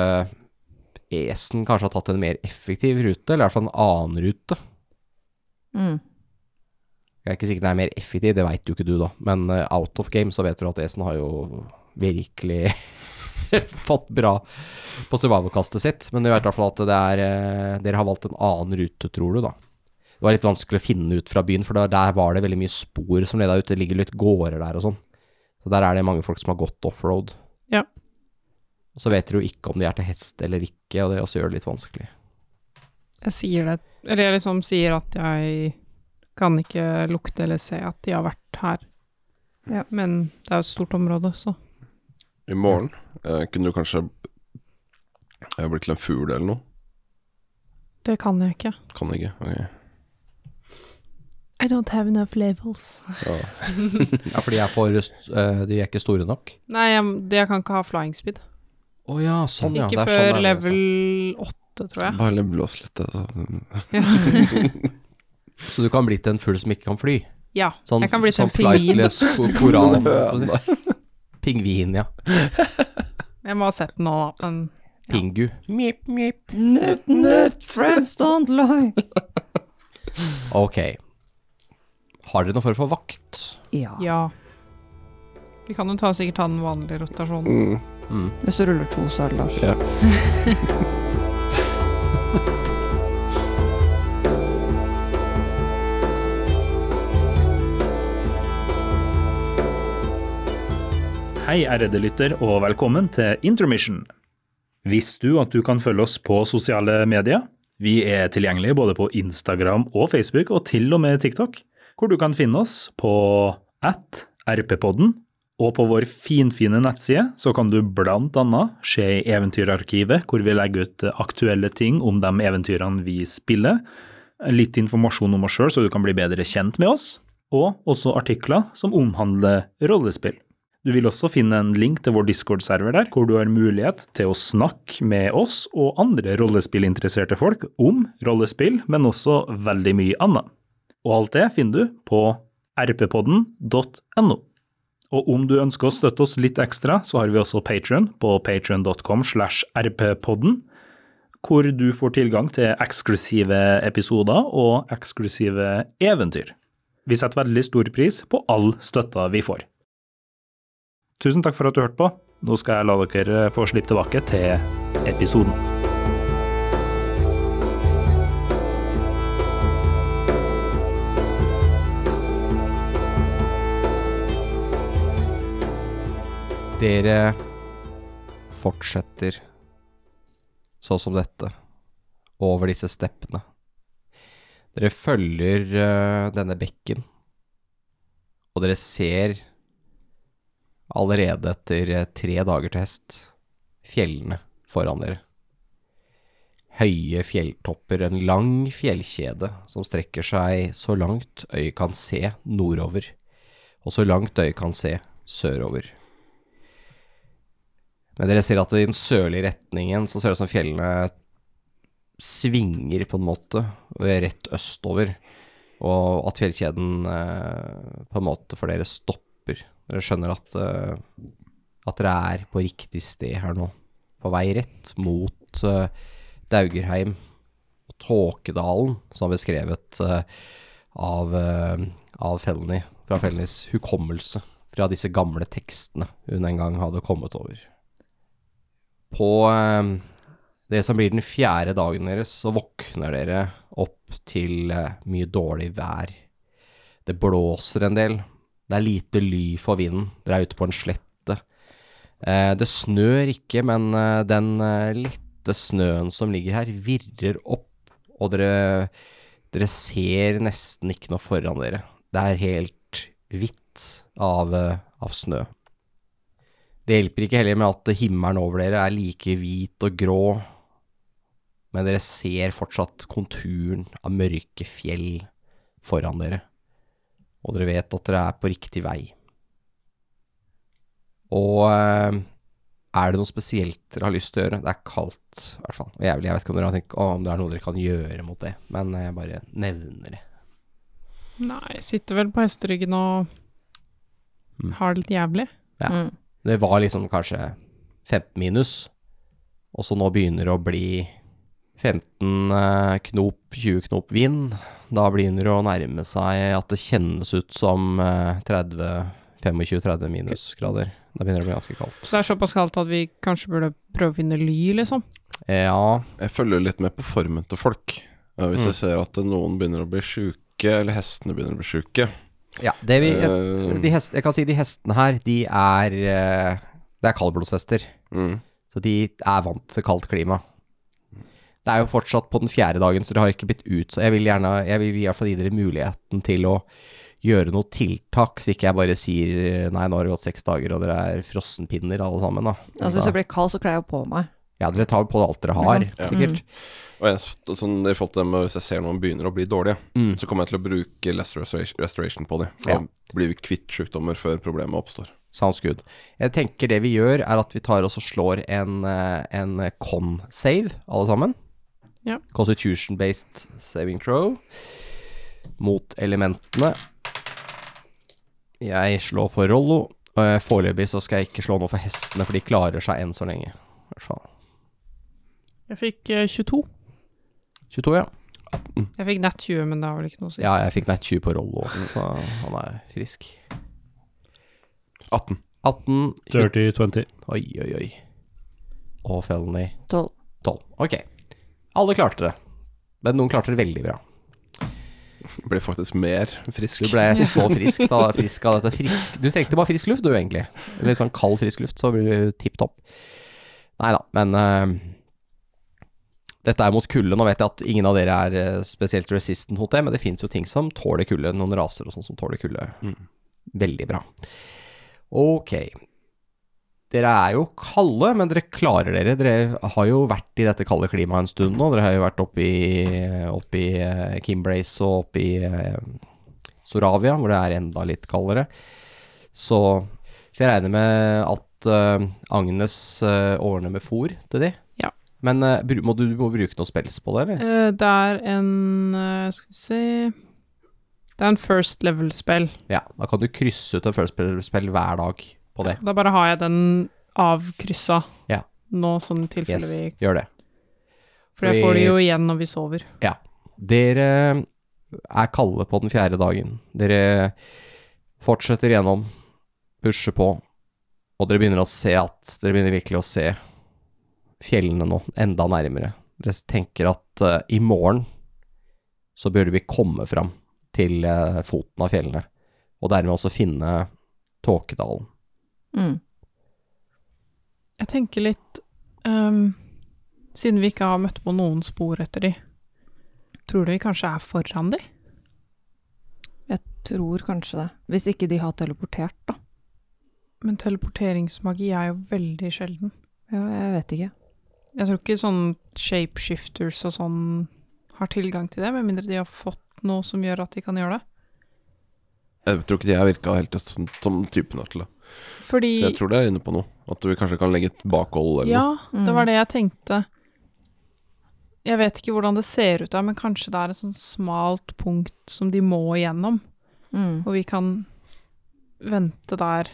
[SPEAKER 4] Esen kanskje har tatt en mer effektiv rute, eller i hvert fall en annen rute.
[SPEAKER 6] Mm.
[SPEAKER 4] Jeg er ikke sikker den er mer effektiv, det veit jo ikke du, da. Men eh, out of game så vet du at Esen har jo virkelig fått bra på survival-kastet sitt. Men du vet i hvert fall at det er eh, Dere har valgt en annen rute, tror du, da. Det var litt vanskelig å finne ut fra byen, for der, der var det veldig mye spor som leda ut. Det ligger litt gårder der og sånn. Så der er det mange folk som har gått offroad.
[SPEAKER 2] Ja.
[SPEAKER 4] Og så vet dere jo ikke om de er til hest eller ikke, og det også gjør det litt vanskelig.
[SPEAKER 2] Jeg sier det Eller jeg liksom sier at jeg kan ikke lukte eller se at de har vært her.
[SPEAKER 6] Ja.
[SPEAKER 2] Men det er jo et stort område, så
[SPEAKER 5] I morgen eh, kunne du kanskje eh, blitt til en fugl eller noe?
[SPEAKER 2] det kan jeg ikke.
[SPEAKER 5] Kan ikke. Ok.
[SPEAKER 2] I don't have enough levels.
[SPEAKER 4] Ja, for de er, for, eh, de er ikke store nok.
[SPEAKER 2] Nei, jeg, jeg kan ikke ha flying speed.
[SPEAKER 4] Å ja, sånn ja.
[SPEAKER 2] Ikke før level 8, tror
[SPEAKER 4] Mm.
[SPEAKER 2] jeg.
[SPEAKER 5] Bare blås litt. altså.
[SPEAKER 4] Så du kan bli til en fugl som ikke kan fly?
[SPEAKER 2] Ja,
[SPEAKER 4] Sånn,
[SPEAKER 2] jeg kan bli til en
[SPEAKER 4] sånn
[SPEAKER 2] pingvin.
[SPEAKER 4] flightless ko- koran. Pingvin, ja.
[SPEAKER 2] Jeg må ha sett den nå, da. Men
[SPEAKER 4] Pingu. Mip, mip.
[SPEAKER 6] Nøtt, nøtt, friends don't lie.
[SPEAKER 4] Ok. Har dere noe form for vakt?
[SPEAKER 6] Ja.
[SPEAKER 2] ja. Vi kan jo ta, sikkert ta den vanlige rotasjonen.
[SPEAKER 5] Mm.
[SPEAKER 6] Hvis du ruller to, så er det Lars.
[SPEAKER 5] Ja.
[SPEAKER 3] Hei, ærede lytter, og velkommen til Intermission. Visste du at du kan følge oss på sosiale medier? Vi er tilgjengelige både på Instagram og Facebook, og til og med TikTok, hvor du kan finne oss på at rppodden, og på vår finfine nettside så kan du blant annet se i Eventyrarkivet, hvor vi legger ut aktuelle ting om de eventyrene vi spiller, litt informasjon om oss sjøl, så du kan bli bedre kjent med oss, og også artikler som omhandler rollespill. Du vil også finne en link til vår Discord-server der, hvor du har mulighet til å snakke med oss og andre rollespillinteresserte folk om rollespill, men også veldig mye annet. Og alt det finner du på rppodden.no. Og om du ønsker å støtte oss litt ekstra, så har vi også Patreon på patreon.com slash rppodden.
[SPEAKER 8] hvor du får tilgang til eksklusive episoder og eksklusive eventyr. Vi setter veldig stor pris på all støtta vi får. Tusen takk for at du hørte på. Nå skal jeg la dere eh, få slippe tilbake til episoden.
[SPEAKER 4] Dere fortsetter sånn som dette, over disse steppene. Dere følger eh, denne bekken, og dere ser allerede etter eh, tre dager til hest fjellene foran dere. Høye fjelltopper, en lang fjellkjede som strekker seg så langt øyet kan se nordover, og så langt øyet kan se sørover. Men dere ser at i den sørlige retningen så ser det ut som fjellene svinger på en måte og er rett østover, og at fjellkjeden eh, på en måte for dere stopper. Dere skjønner at, eh, at dere er på riktig sted her nå, på vei rett mot eh, Daugerheim og Tåkedalen, som er beskrevet eh, av, eh, av Felny, fra Felnys hukommelse, fra disse gamle tekstene hun en gang hadde kommet over på eh, det som blir den fjerde dagen deres, så våkner dere opp til eh, mye dårlig vær. Det blåser en del. Det er lite ly for vinden. Dere er ute på en slette. Eh, det snør ikke, men eh, den eh, lette snøen som ligger her, virrer opp, og dere, dere ser nesten ikke noe foran dere. Det er helt hvitt av, eh, av snø. Det hjelper ikke heller med at himmelen over dere er like hvit og grå, men dere ser fortsatt konturen av mørke fjell foran dere, og dere vet at dere er på riktig vei. Og eh, er det noe spesielt dere har lyst til å gjøre? Det er kaldt, i hvert fall. Og jævlig, jeg vet ikke om dere har tenkt å, om det er noe dere kan gjøre mot det, men eh, jeg bare nevner det.
[SPEAKER 2] Nei, jeg sitter vel på hesteryggen og
[SPEAKER 4] Mm.
[SPEAKER 2] har det litt jævlig.
[SPEAKER 4] Ja.
[SPEAKER 6] Mm.
[SPEAKER 4] Det var liksom kanskje 15 minus, og så nå begynner det å bli 15 eh, knop, 20 knop vind. Da begynner det å nærme seg at det kjennes ut som eh, 30, 25-30 minusgrader. Da begynner det å bli ganske kaldt.
[SPEAKER 2] Så det er såpass kaldt at vi kanskje burde prøve å finne ly, liksom.
[SPEAKER 4] Ja,
[SPEAKER 5] Jeg følger litt med på formen til folk. Eh, hvis jeg ser at eh, noen begynner å bli sjuke, eller hestene begynner å bli sjuke
[SPEAKER 4] ja det vi,
[SPEAKER 5] Eh.
[SPEAKER 4] de hest, jeg kan si de hestene her, de er, eh, det er kaldblodshester.
[SPEAKER 5] mm.
[SPEAKER 4] Så de er vant til kaldt klima. Det er jo fortsatt på den fjerde dagen, så det har ikke blitt ut. Så jeg vil gjerne, jeg vil i hvert fall gi dere muligheten til å gjøre noe tiltak, så ikke jeg bare sier nei, nå har det gått seks dager, og dere er frossenpinner alle sammen, da.
[SPEAKER 6] Altså, hvis jeg blir kald, så kler jeg jo på meg.
[SPEAKER 4] Ja, dere tar på alt dere har,
[SPEAKER 6] Ikke sant? Mm.
[SPEAKER 4] sikkert.
[SPEAKER 5] Og jeg, sånn, i forhold til det med Hvis jeg ser noen begynner å bli dårlige,
[SPEAKER 4] Mm.
[SPEAKER 5] så kommer jeg til å bruke less restoration, restoration på dem. Da
[SPEAKER 4] Ja.
[SPEAKER 5] blir vi kvitt sykdommer før problemet oppstår.
[SPEAKER 4] Sounds good. Jeg tenker det vi gjør, er at vi tar oss og slår en, eh, en con-save, alle sammen.
[SPEAKER 2] Ja.
[SPEAKER 4] Constitution-based saving throw mot elementene. Jeg slår for Rollo. og, eh, Foreløpig så skal jeg ikke slå noe for hestene, for de klarer seg enn så lenge. I hvert fall.
[SPEAKER 2] Jeg fikk eh, 22.
[SPEAKER 4] 22, ja.
[SPEAKER 2] Jeg fikk nett 20, men det har vel ikke noe å si.
[SPEAKER 4] Ja, jeg fikk nett 20 på Rollo, så han er frisk.
[SPEAKER 5] 18.
[SPEAKER 4] 18 20,
[SPEAKER 3] Dirty 20.
[SPEAKER 4] Oi, oi, oi. Og felony.
[SPEAKER 6] Tolv.
[SPEAKER 4] 12. Ok. Alle klarte det. Men noen klarte det veldig bra.
[SPEAKER 5] Jeg blir faktisk mer frisk.
[SPEAKER 4] Du ble så frisk da. Frisk av dette. Frisk. Du trengte bare frisk luft, du, egentlig. Litt sånn kald, frisk luft, så blir du tipp topp. Nei da, men eh, Dette er mot kulde. Nå vet jeg at ingen av dere er eh, spesielt resistant mot det, men det fins jo ting som tåler kulde. Noen raser og sånn som tåler kulde. Veldig bra. Ok. Dere er jo kalde, men dere klarer dere. Dere har jo vært i dette kalde klimaet en stund nå. Dere har jo vært oppe i, oppe i eh, Kimbrace og oppe i eh, Soravia, hvor det er enda litt kaldere. Så, så jeg regner med at eh, Agnes eh, ordner med fôr til de.
[SPEAKER 2] Ja.
[SPEAKER 4] Men eh, bru- må du du må bruke noe spels på det, eller?
[SPEAKER 2] Eh, det er en eh, Skal vi se Det er en first level-spill.
[SPEAKER 4] Ja, da kan du krysse ut en følelsesspill hver dag på det.
[SPEAKER 2] Da bare har jeg den avkryssa
[SPEAKER 4] Ja.
[SPEAKER 2] nå, sånn i tilfelle
[SPEAKER 4] Yes,
[SPEAKER 2] vi
[SPEAKER 4] gjør det.
[SPEAKER 2] For det får de jo igjen når vi sover.
[SPEAKER 4] Dere er kalde på den fjerde dagen. Dere fortsetter gjennom, pusher på, og dere begynner å se at Dere begynner virkelig å se fjellene nå, enda nærmere. Dere tenker at eh, i morgen så burde vi komme fram til eh, foten av fjellene, og dermed også finne Tåkedalen.
[SPEAKER 6] Mm.
[SPEAKER 2] Jeg tenker litt ehm, Siden vi ikke har møtt på noen spor etter de, tror du vi kanskje er foran de?
[SPEAKER 6] Tror kanskje det. Hvis ikke de har teleportert, da.
[SPEAKER 2] Men teleporteringsmagi er jo veldig sjelden.
[SPEAKER 6] Ja, jeg vet ikke.
[SPEAKER 2] Jeg tror ikke sånn shapeshifters og sånn har tilgang til det, med mindre de har fått noe som gjør at de kan gjøre det.
[SPEAKER 5] Jeg tror ikke de her virka helt sånn, som, som typen her til det.
[SPEAKER 2] Fordi
[SPEAKER 5] Så jeg tror det er inne på noe. At vi kanskje kan legge et bakhold eller
[SPEAKER 2] Ja,
[SPEAKER 5] noe.
[SPEAKER 2] det var
[SPEAKER 6] Mm.
[SPEAKER 2] det jeg tenkte. Jeg vet ikke hvordan det ser ut der, men kanskje det er et sånn smalt punkt som de må igjennom,
[SPEAKER 6] Mm.
[SPEAKER 2] og vi kan vente der.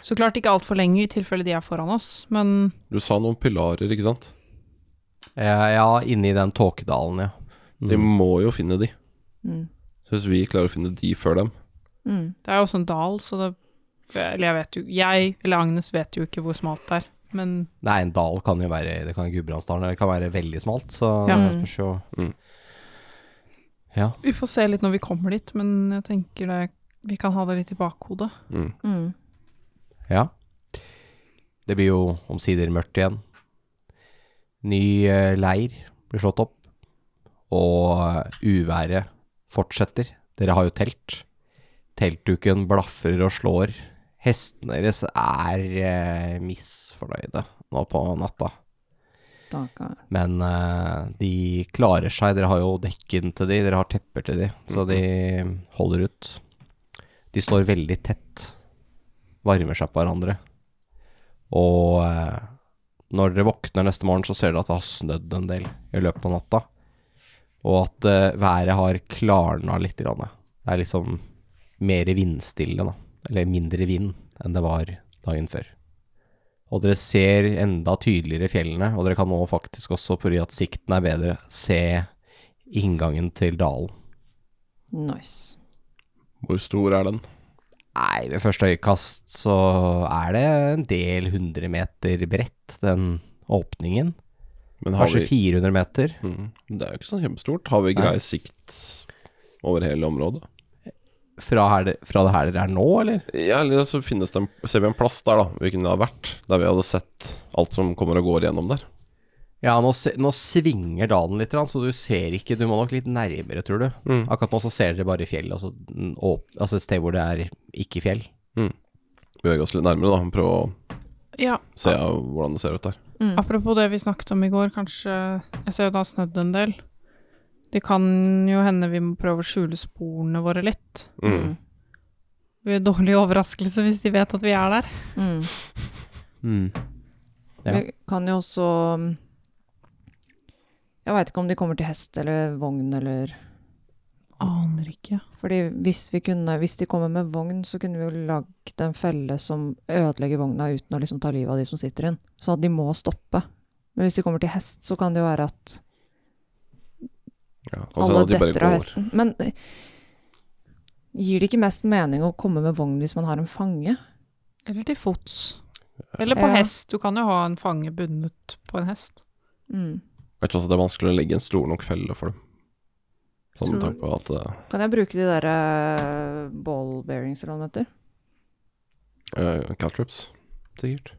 [SPEAKER 2] Så klart ikke altfor lenge i tilfelle de er foran oss, men
[SPEAKER 5] Du sa noe om pilarer, ikke sant?
[SPEAKER 4] Ja, Eh, ja inni den Tåkedalen, ja.
[SPEAKER 5] Så de må jo finne de.
[SPEAKER 6] Mm.
[SPEAKER 5] Så hvis vi klarer å finne de før dem
[SPEAKER 6] Mm.
[SPEAKER 2] det er jo også en dal, så det Eller jeg vet jo Jeg, eller Agnes, vet jo ikke hvor smalt det er, men
[SPEAKER 4] Nei, en dal kan jo være Det kan være Gudbrandsdalen, eller det kan være veldig smalt, så
[SPEAKER 2] Ja.
[SPEAKER 4] det spørs jo
[SPEAKER 5] Mm.
[SPEAKER 4] Ja.
[SPEAKER 2] Vi får se litt når vi kommer dit, men jeg tenker det, vi kan ha det litt i bakhodet.
[SPEAKER 5] mm.
[SPEAKER 6] Mm.
[SPEAKER 4] Ja. Det blir jo omsider mørkt igjen. Ny eh, leir blir slått opp, og eh, uværet fortsetter. Dere har jo telt. Teltduken blaffer og slår. Hestene deres er eh, misfornøyde nå på natta.
[SPEAKER 6] Da kan
[SPEAKER 4] Men eh, de klarer seg. Dere har jo dekken til de, dere har tepper til de, så de holder ut. De står veldig tett, varmer seg på hverandre. Og eh, når dere våkner neste morgen, så ser dere at det har snødd en del i løpet av natta. Og at eh, været har klarna litt. Grann. Det er liksom mer vindstille, da. Eller mindre vind enn det var dagen før. Og dere ser enda tydeligere fjellene, og dere kan nå faktisk også, fordi at sikten er bedre, se inngangen til dalen.
[SPEAKER 6] Nice.
[SPEAKER 5] Hvor stor er den?
[SPEAKER 4] Nei, ved første øyekast så er det en del hundre meter bredt, den åpningen.
[SPEAKER 5] Men har
[SPEAKER 4] Kanskje
[SPEAKER 5] vi,
[SPEAKER 4] 400 meter.
[SPEAKER 5] mm. Det er jo ikke så kjempestort. Har vi
[SPEAKER 4] Nei.
[SPEAKER 5] grei sikt over hele området?
[SPEAKER 4] Fra, her, det- fra det her dere er nå, eller?
[SPEAKER 5] Ja, eller så finnes det en, ser vi en plass der, da. Vi kunne ha vært der vi hadde sett alt som kommer og går gjennom der.
[SPEAKER 4] Ja, nå, se- nå svinger dalen litt, så du ser ikke Du må nok litt nærmere, tror du.
[SPEAKER 5] Mm.
[SPEAKER 4] Akkurat nå så ser dere bare fjell, altså, den åp- altså et sted hvor det er ikke fjell.
[SPEAKER 5] Bevege oss litt nærmere, da. Prøve å
[SPEAKER 2] Ja,
[SPEAKER 5] se hvordan det ser ut der.
[SPEAKER 6] Mm.
[SPEAKER 2] Apropos det vi snakket om i går, kanskje Jeg ser jo det har snødd en del. Det kan jo hende vi må prøve å skjule sporene våre litt.
[SPEAKER 5] Mm.
[SPEAKER 2] Det blir en dårlig overraskelse hvis de vet at vi er der.
[SPEAKER 6] Mm.
[SPEAKER 4] Mm. Ja.
[SPEAKER 6] Vi kan jo også um, Jeg veit ikke om de kommer til hest eller vogn eller
[SPEAKER 2] Aner ikke.
[SPEAKER 6] Fordi hvis, vi kunne, hvis de kommer med vogn, så kunne vi jo lagd en felle som ødelegger vogna uten å liksom ta livet av de som sitter inn. Sånn at de må stoppe. Men hvis de kommer til hest, så kan det jo være at
[SPEAKER 5] Ja, kan også
[SPEAKER 6] alle
[SPEAKER 5] hende at de bare
[SPEAKER 6] detter av
[SPEAKER 5] går.
[SPEAKER 6] hesten. Men eh, gir det ikke mest mening å komme med vogn hvis man har en fange?
[SPEAKER 2] Eller til fots. Eller på
[SPEAKER 6] Ja.
[SPEAKER 2] hest. Du kan jo ha en fange bundet på en hest.
[SPEAKER 6] Mm.
[SPEAKER 5] Jeg tror også det er vanskelig å legge en stor nok felle for dem. Sånn med
[SPEAKER 2] Tror-
[SPEAKER 5] tanke på at eh,
[SPEAKER 6] Kan jeg bruke de der eh, ball bearings eller hva det heter?
[SPEAKER 5] eh, Caltrips, sikkert.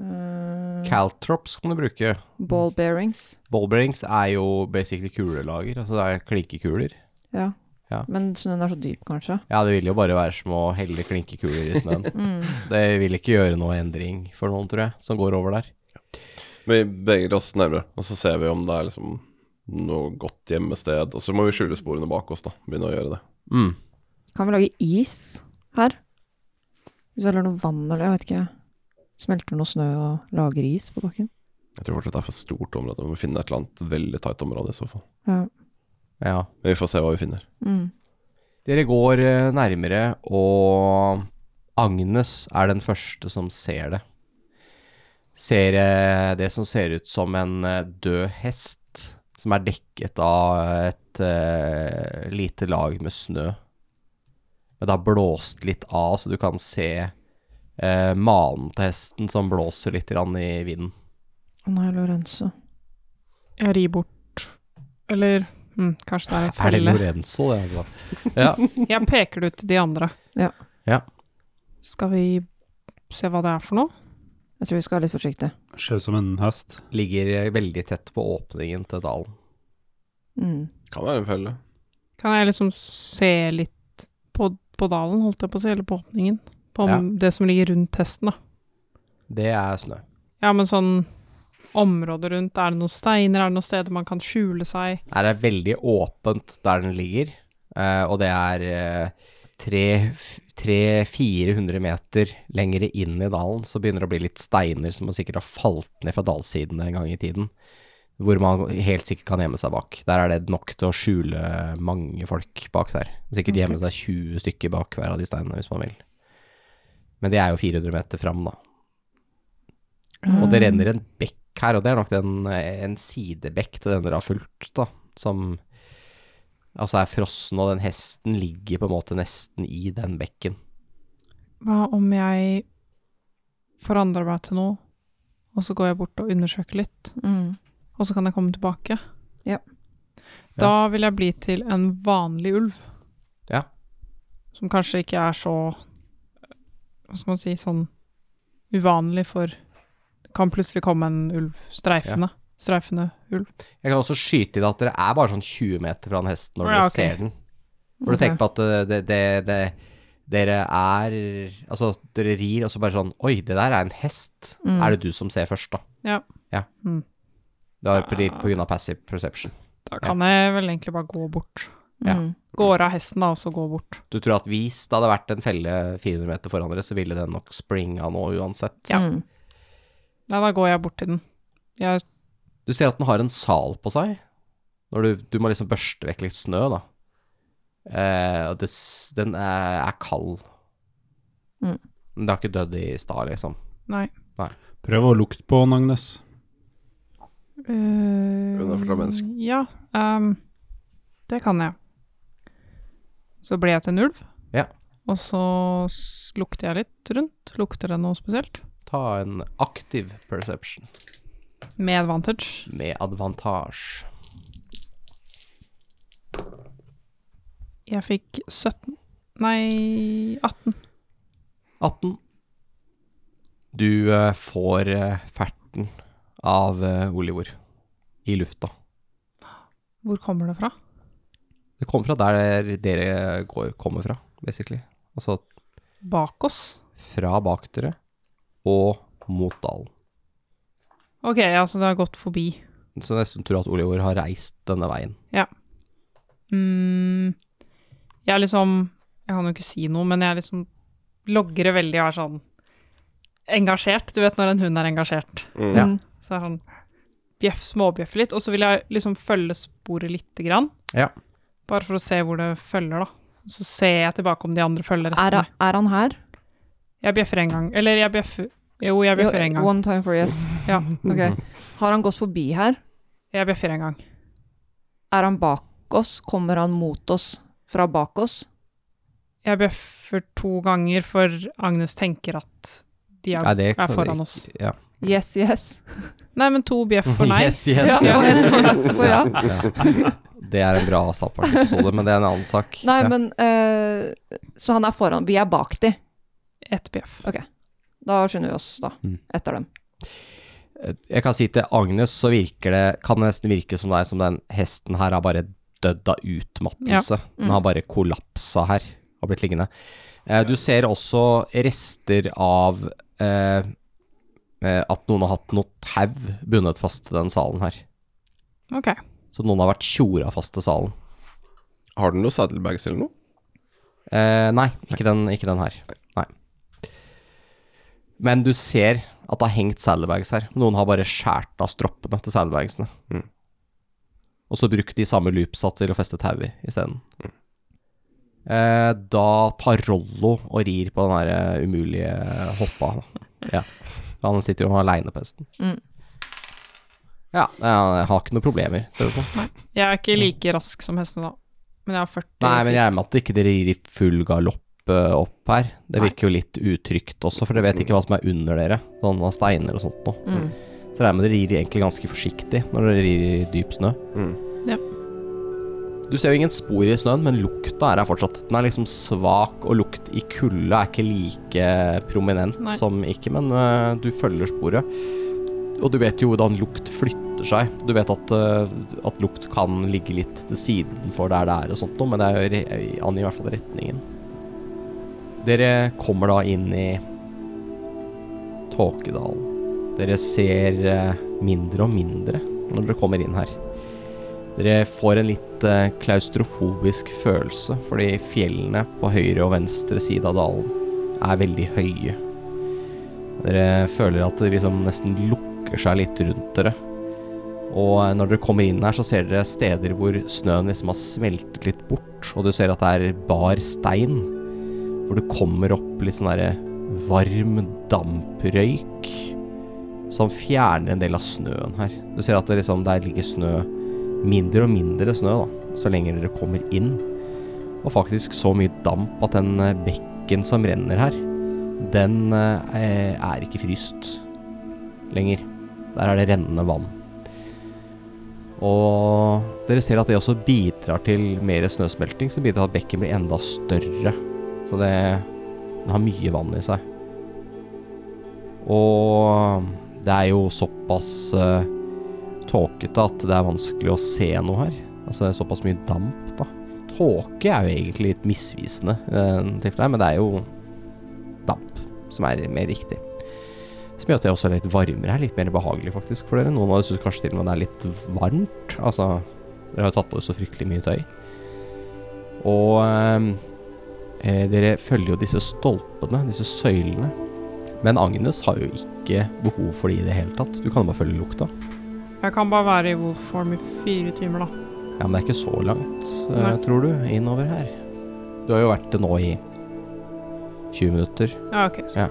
[SPEAKER 6] Eh,
[SPEAKER 4] Caltrops kan du bruke.
[SPEAKER 6] ball bearings.
[SPEAKER 4] Ballbrings er jo basically kulelager, altså det er klinkekuler.
[SPEAKER 6] Ja.
[SPEAKER 4] Ja.
[SPEAKER 6] Men snøen er så dyp, kanskje.
[SPEAKER 4] Ja, det vil jo bare være som å helle klinkekuler i snøen.
[SPEAKER 6] Mm.
[SPEAKER 4] Det vil ikke gjøre noe endring for noen, tror jeg, som går over der.
[SPEAKER 5] Vi beveger oss nærmere, og så ser vi om det er liksom noe godt gjemmested. Og så må vi skjule sporene bak oss, da. Begynne å gjøre det.
[SPEAKER 4] Mm.
[SPEAKER 6] Kan vi lage is her? Hvis vi heller noe vann eller jeg vet ikke. Smelter noe snø og lager is på bakken.
[SPEAKER 5] Jeg tror fortsatt det er for stort område. Vi må finne et eller annet veldig tight område i så fall.
[SPEAKER 6] Ja.
[SPEAKER 4] Ja.
[SPEAKER 5] Men vi får se hva vi finner.
[SPEAKER 6] Mm.
[SPEAKER 4] Dere går eh, nærmere, og Agnes er den første som ser det. ser jeg det som ser ut som en eh, død hest, som er dekket av et eh, lite lag med snø. Men det har blåst litt av, så du kan se eh, manen til hesten som blåser litt grann i vinden.
[SPEAKER 6] Å nei, Lorenzo.
[SPEAKER 2] Jeg rir bort Eller mm, kanskje det er en
[SPEAKER 4] Er det
[SPEAKER 2] felle.
[SPEAKER 4] Lorenzo, det, altså? Ja.
[SPEAKER 2] Jeg peker det ut til de andre.
[SPEAKER 6] Ja.
[SPEAKER 4] Ja.
[SPEAKER 2] Skal vi se hva det er for noe?
[SPEAKER 6] Jeg tror vi skal være litt forsiktige.
[SPEAKER 3] Ser ut som en hest.
[SPEAKER 4] Ligger eh, veldig tett på åpningen til dalen.
[SPEAKER 6] Mm.
[SPEAKER 5] Kan være en felle.
[SPEAKER 2] Kan jeg liksom se litt på, på dalen, holdt jeg på å si, eller på åpningen? På om
[SPEAKER 4] Ja.
[SPEAKER 2] det som ligger rundt hesten, da.
[SPEAKER 4] Det er snø.
[SPEAKER 2] Ja, men sånn området rundt, er det noen steiner, er det noen steder man kan skjule seg?
[SPEAKER 4] Her er veldig åpent der den ligger, eh, og det er eh, 300-400 meter lengre inn i dalen, så begynner det å bli litt steiner som sikkert har falt ned fra dalsiden en gang i tiden, hvor man helt sikkert kan gjemme seg bak. Der er det nok til å skjule mange folk bak der. Sikkert gjemme seg 20 stykker bak hver av de steinene hvis man vil. Men det er jo 400 meter fram, da. Og det renner en bekk her, og det er nok den, eh, en sidebekk til den dere har fulgt, da, som altså er frossen, og den hesten ligger på en måte nesten i den bekken.
[SPEAKER 2] Hva om jeg forandrer meg til noe, og så går jeg bort og undersøker litt,
[SPEAKER 6] Mm.
[SPEAKER 2] og så kan jeg komme tilbake?
[SPEAKER 6] Ja.
[SPEAKER 2] Da vil jeg bli til en vanlig ulv.
[SPEAKER 4] Ja.
[SPEAKER 2] Som kanskje ikke er så Hva skal man si Sånn uvanlig for Det kan plutselig komme en ulv streifende. Streifende ulv.
[SPEAKER 4] Jeg kan også skyte i det at dere er bare sånn 20 meter fra den hesten
[SPEAKER 2] Ja,
[SPEAKER 4] når dere
[SPEAKER 2] ok.
[SPEAKER 4] ser den. For du
[SPEAKER 6] Ok.
[SPEAKER 4] tenker på at uh, det, det, det, dere er Altså, dere rir, og så bare sånn Oi, det der er en hest.
[SPEAKER 6] Mm.
[SPEAKER 4] Er det du som ser først, da?
[SPEAKER 2] Ja.
[SPEAKER 4] Ja.
[SPEAKER 2] Mm.
[SPEAKER 4] Det er på, på grunn av passive perception.
[SPEAKER 2] Da kan jeg vel egentlig bare gå bort.
[SPEAKER 4] Ja.
[SPEAKER 6] Mm.
[SPEAKER 2] Går av hesten, da, og så gå bort.
[SPEAKER 4] Du tror at hvis det hadde vært en felle 400 meter foran dere, så ville den nok springa nå uansett.
[SPEAKER 6] Mm.
[SPEAKER 2] Nei, da går jeg bort til den. Jeg
[SPEAKER 4] Du ser at den har en sal på seg. Når du, du må liksom børste vekk litt snø, da. Eh, og det, s- den er, er kald.
[SPEAKER 6] Mm.
[SPEAKER 4] Men det har ikke dødd i stad, liksom.
[SPEAKER 2] Nei.
[SPEAKER 3] Prøv å lukte på den, Agnes.
[SPEAKER 2] Uh,
[SPEAKER 5] Hun er fra mennesk.
[SPEAKER 2] Ja, ehm, det kan jeg. Så ble jeg til en ulv.
[SPEAKER 4] Ja.
[SPEAKER 2] Og så s- lukter jeg litt rundt. Lukter det noe spesielt?
[SPEAKER 4] Ta en aktiv perception
[SPEAKER 2] Med advantage.
[SPEAKER 4] med advantage.
[SPEAKER 2] Jeg fikk 17 Nei, 18.
[SPEAKER 4] 18. Du eh, får eh, ferten av eh, Olivor i lufta.
[SPEAKER 2] Hvor kommer det fra?
[SPEAKER 4] Det kommer fra der dere går, kommer fra, basically. Altså
[SPEAKER 2] Bak oss?
[SPEAKER 4] fra bak dere og mot dalen.
[SPEAKER 2] Ok, altså det har gått forbi.
[SPEAKER 4] Så nesten tror at Oliver har reist denne veien.
[SPEAKER 2] Mm, jeg er liksom Jeg kan jo ikke si noe, men jeg er liksom logrer veldig og er sånn engasjert. Du vet når en hund er engasjert.
[SPEAKER 5] Mm.
[SPEAKER 4] Ja.
[SPEAKER 6] Mm.
[SPEAKER 2] Så er han bjeff, småbjeffer litt, og så vil jeg liksom følge sporet lite grann.
[SPEAKER 4] Ja.
[SPEAKER 2] Bare for å se hvor det følger, da. Så ser jeg tilbake om de andre følger
[SPEAKER 6] Er,
[SPEAKER 2] etter meg.
[SPEAKER 6] er han her?
[SPEAKER 2] Jeg bjeffer en gang. Eller jeg bjeffer Jo, jeg bjeffer en gang.
[SPEAKER 6] One time for yes.
[SPEAKER 2] Ja.
[SPEAKER 6] Ok. Har han gått forbi her?
[SPEAKER 2] Jeg bjeffer en gang.
[SPEAKER 6] Er han bak oss? Kommer han mot oss fra bak oss?
[SPEAKER 2] Jeg bjeffer to ganger, for Agnes tenker at de er,
[SPEAKER 4] Nei, det
[SPEAKER 2] er
[SPEAKER 4] kan
[SPEAKER 2] foran
[SPEAKER 4] vi
[SPEAKER 2] oss.
[SPEAKER 4] ikke- Ja.
[SPEAKER 6] Yes, yes.
[SPEAKER 2] Nei, men to bjeff for nei.
[SPEAKER 4] Yes, yes, ja.
[SPEAKER 6] Ja, Så ja.
[SPEAKER 4] Ja. Det er en bra saltpartiepisode, men det er en annen sak.
[SPEAKER 6] Nei,
[SPEAKER 4] ja.
[SPEAKER 6] men eh, Så han er foran. Vi er bak de.
[SPEAKER 2] Ett bjeff.
[SPEAKER 6] Da skynder vi oss, da.
[SPEAKER 4] Mm.
[SPEAKER 6] Etter dem.
[SPEAKER 4] Jeg kan si til Agnes, så virker det Kan det nesten virke som deg som den hesten her har bare dødd av utmattelse. Den har bare kollapsa her. Har blitt liggende. Eh, Du ser også rester av eh, eh, at noen har hatt noe tau bundet fast til den salen her.
[SPEAKER 2] Ok.
[SPEAKER 4] Så noen har vært tjora fast til salen.
[SPEAKER 5] Har den noe saddlebags eller noe?
[SPEAKER 4] Eh, nei, ikke den, ikke den her. Nei. Men du ser at det har hengt saddlebags her. Noen har bare skjært av stroppene til saddlebagsene.
[SPEAKER 5] Mm.
[SPEAKER 4] Og så brukt de samme loopsa til å feste tau i isteden. Eh, da tar Rollo og rir på den der umulige hoppa. eh, Ja. For han sitter jo aleine på hesten.
[SPEAKER 6] Mm.
[SPEAKER 4] Ja, jeg har ikke noen problemer, ser du på.
[SPEAKER 2] Jeg er ikke like rask som hestene, da. Men jeg har 40
[SPEAKER 4] Nei, men jeg regner med at ikke dere gir i full galopp eh, opp her. Det virker jo litt utrygt også, for dere vet ikke hva som er under dere. Sånn hva steiner og sånt noe.
[SPEAKER 6] Mm.
[SPEAKER 4] Så regner jeg med dere rir egentlig ganske forsiktig når dere rir i dyp snø.
[SPEAKER 2] Ja.
[SPEAKER 4] Du ser jo ingen spor i snøen, men lukta er her fortsatt. Den er liksom svak, og lukt i kulda er ikke like prominent
[SPEAKER 2] Nei.
[SPEAKER 4] som ikke, men øh, du følger sporet. Og du vet jo hvordan lukt flytter seg. Du vet at, øh, at lukt kan ligge litt til siden for der det er og sånt noe, men det er jo re- angir i hvert fall retningen. Dere kommer da inn i Tåkedalen. Dere ser eh, mindre og mindre når dere kommer inn her. Dere får en litt eh, klaustrofobisk følelse, fordi fjellene på høyre og venstre side av dalen er veldig høye. Dere føler at det liksom nesten lukker seg litt rundt dere. Og eh, når dere kommer inn her, så ser dere steder hvor snøen liksom har smeltet litt bort, og du ser at det er bar stein, hvor det kommer opp litt sånn derre varm damprøyk som fjerner en del av snøen her. Du ser at det liksom der ligger snø mindre og mindre snø da, så lenge dere kommer inn. Og faktisk så mye damp at den eh, bekken som renner her, den eh, er ikke fryst lenger. Der er det rennende vann. Og dere ser at det også bidrar til mer snøsmelting, som bidrar til at bekken blir enda større. Så det, det har mye vann i seg. Og det er jo såpass eh, tåkete at det er vanskelig å se noe her. Altså det er såpass mye damp, da. Tåke er jo egentlig litt misvisende, eh, tilfellet her, men det er jo damp som er mer riktig. Som gjør at det også er litt varmere her, litt mer behagelig faktisk for dere. Noen av dere syns kanskje til og med det er litt varmt. Altså, dere har jo tatt på dere så fryktelig mye tøy. Og eh, eh, dere følger jo disse stolpene, disse søylene. Men Agnes har jo ikke behov for de i det hele tatt. Du kan jo bare følge lukta.
[SPEAKER 2] Jeg kan bare være i Wolfform i fire timer, da.
[SPEAKER 4] Ja, men det er ikke så langt, eh,
[SPEAKER 2] Nei.
[SPEAKER 4] tror du, innover her. Du har jo vært det nå i 20 minutter.
[SPEAKER 2] Ja, ok. Så.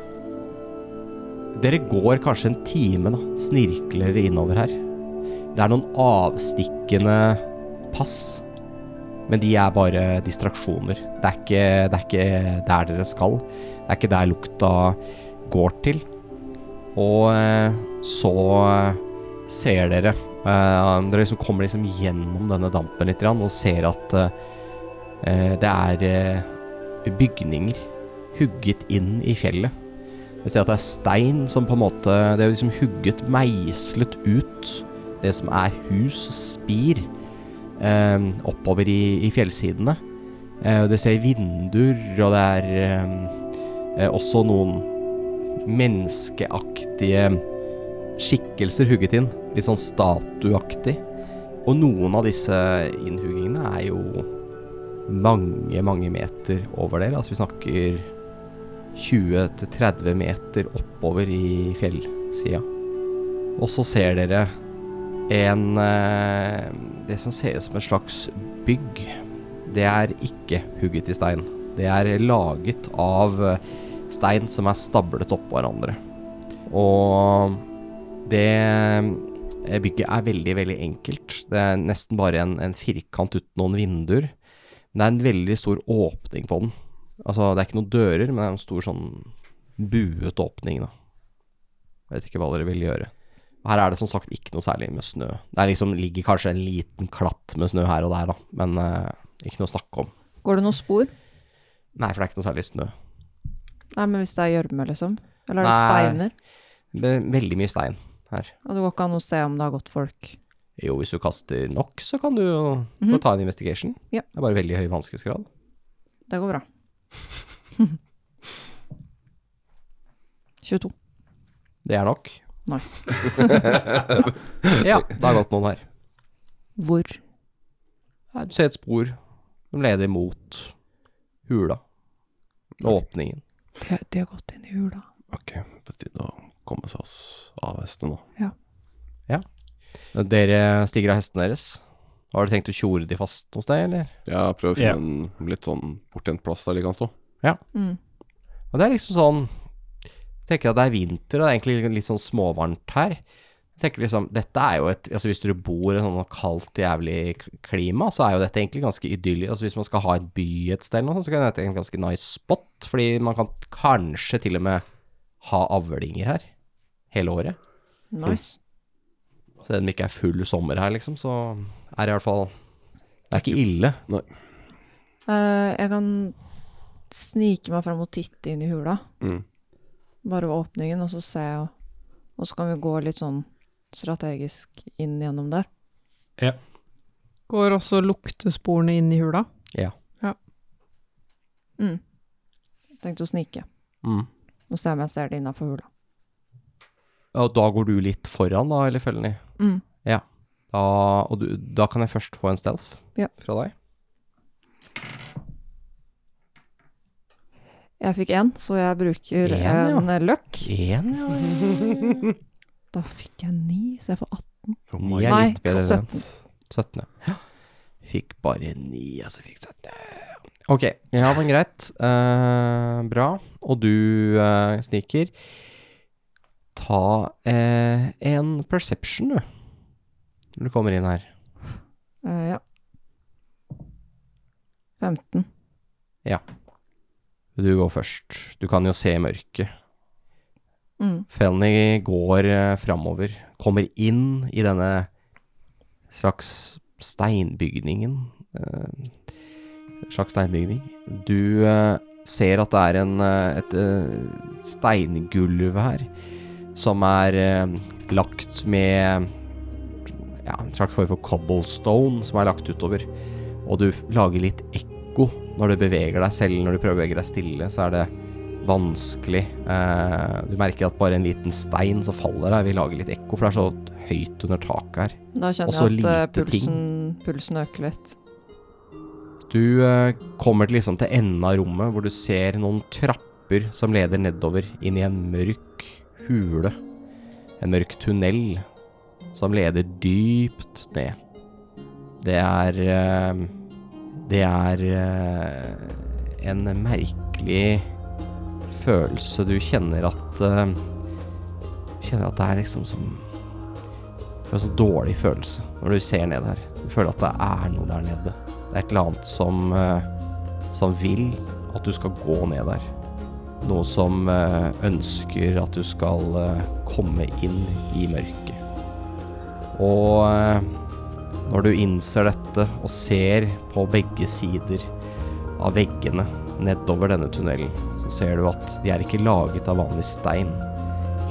[SPEAKER 4] Dere går kanskje en time, da. Snirkler dere innover her. Det er noen avstikkende pass, men de er bare distraksjoner. Det er ikke, det er ikke der dere skal. Det er ikke der lukta går til. Og eh, så eh, ser dere eh, Dere liksom kommer liksom gjennom denne dampen litt grann, og ser at eh, eh, det er eh, bygninger hugget inn i fjellet. Vi ser at det er stein som på en måte Det er liksom hugget, meislet ut det som er hus, spir, eh, oppover i, i fjellsidene. Eh, og det ser vinduer, og det er eh, eh, også noen menneskeaktige skikkelser hugget inn. Litt sånn statuaktig. Og noen av disse innhuggingene er jo mange, mange meter over dere. Altså vi snakker 20-30 meter oppover i fjellsida. Og så ser dere en eh, Det som ser ut som en slags bygg. Det er ikke hugget i stein. Det er laget av eh, stein som er stablet oppå hverandre. Og det bygget er veldig, veldig enkelt. Det er nesten bare en, en firkant uten noen vinduer. Men det er en veldig stor åpning på den. Altså, det er ikke noen dører, men det er en stor sånn buet åpning, da. Jeg vet ikke hva dere vil gjøre. Her er det som sagt ikke noe særlig med snø. Det er liksom, ligger kanskje en liten klatt med snø her og der, da, men eh, ikke noe å snakke om.
[SPEAKER 6] Går det noen spor?
[SPEAKER 4] Nei, for det er ikke noe særlig snø.
[SPEAKER 6] Nei, men hvis det er gjørme, liksom? Eller er det
[SPEAKER 4] Nei.
[SPEAKER 6] steiner?
[SPEAKER 4] Det er veldig mye stein her.
[SPEAKER 6] Og det går ikke an å se om det har gått folk.
[SPEAKER 4] Jo, hvis du kaster nok, så kan du jo
[SPEAKER 6] Mhm.
[SPEAKER 4] ta en investigation.
[SPEAKER 6] Ja.
[SPEAKER 4] Det er bare veldig høy vanskelighetsgrad.
[SPEAKER 6] Det går bra. 22.
[SPEAKER 4] Det er nok.
[SPEAKER 6] Nice.
[SPEAKER 4] Ja, det har gått noen her.
[SPEAKER 6] Hvor?
[SPEAKER 4] Nei, Du ser et spor som leder mot hula. Åpningen.
[SPEAKER 6] De, de har gått inn i hula.
[SPEAKER 5] Ok, på tide å komme seg oss av hestene nå.
[SPEAKER 4] Dere stiger av hestene deres. Har dere tenkt å tjore de fast hos deg, eller?
[SPEAKER 5] Jeg prøver å
[SPEAKER 3] Ja.
[SPEAKER 5] finne en litt sånn bortgjemt plass der de kan stå.
[SPEAKER 6] Mm.
[SPEAKER 4] Og det er liksom sånn tenker at det er vinter, og det er egentlig litt sånn småvarmt her. Jeg tenker liksom, dette er jo et, altså Hvis du bor i et sånn kaldt, jævlig k- klima, så er jo dette egentlig ganske idyllisk. Altså Hvis man skal ha et by et sted, eller noe sånt, så kan dette være en ganske nice spot. Fordi man kan kanskje til og med ha avlinger her hele året.
[SPEAKER 6] Nice.
[SPEAKER 4] Så selv om det ikke er full sommer her, liksom, så er det i hvert fall Det er ikke ille.
[SPEAKER 6] Eh, jeg kan snike meg fram og titte inn i hula.
[SPEAKER 5] Mm.
[SPEAKER 6] Bare ved åpningen, og så ser jeg Og så kan vi gå litt sånn strategisk inn gjennom der.
[SPEAKER 2] Går også luktesporene inn i hula?
[SPEAKER 6] Mm. Tenkte å snike.
[SPEAKER 4] Mm.
[SPEAKER 6] Og se om jeg ser det innafor hula.
[SPEAKER 4] Og da går du litt foran, da, eller følger ni?
[SPEAKER 6] Mm.
[SPEAKER 4] Da, og du, da kan jeg først få en stealth
[SPEAKER 6] Ja.
[SPEAKER 4] fra deg.
[SPEAKER 6] Jeg fikk én, så jeg bruker
[SPEAKER 4] En, ja.
[SPEAKER 6] en eh, løkk.
[SPEAKER 4] Én, ja.
[SPEAKER 6] Da fikk jeg ni, så jeg får 18.
[SPEAKER 4] Ni er
[SPEAKER 6] Nei,
[SPEAKER 4] litt bedre. 17.
[SPEAKER 6] 17.
[SPEAKER 4] 17. ja. Fikk bare ni, altså fikk 17. Ok, ja, men greit. Eh, bra. Og du eh, sniker. Ta eh, en perception, du. Når du kommer inn her.
[SPEAKER 6] Eh, ja. 15.
[SPEAKER 4] Du går først. Du kan jo se i mørket.
[SPEAKER 6] Mm.
[SPEAKER 4] Felny går eh, framover, kommer inn i denne slags steinbygningen. Eh, slags steinbygning. Du eh, ser at det er en, eh, et eh, steingulv her, som er eh, lagt med ja, en slags form for cobblestone som er lagt utover. Og du f- lager litt ekko når du beveger deg selv, når du prøver å bevege deg stille, så er det vanskelig. Eh, du merker at bare en liten stein som faller der, vil lage litt ekko, for det er så høyt under taket her.
[SPEAKER 6] Da kjenner
[SPEAKER 4] Også
[SPEAKER 6] jeg at eh,
[SPEAKER 4] lite ting.
[SPEAKER 6] pulsen, pulsen øker litt.
[SPEAKER 4] Du eh, kommer til, liksom til enden av rommet, hvor du ser noen trapper som leder nedover inn i en mørk hule. En mørk tunnel som leder dypt ned. Det er eh, Det er eh, en merkelig følelse. Du kjenner at eh, Kjenner at det er liksom som Får en sånn dårlig følelse når du ser ned her. Du føler at det er noe der nede. Det er et eller annet som, eh, som vil at du skal gå ned der. Noe som eh, ønsker at du skal eh, komme inn i mørket. Og eh, når du innser dette og ser på begge sider av veggene nedover denne tunnelen, så ser du at de er ikke laget av vanlig stein.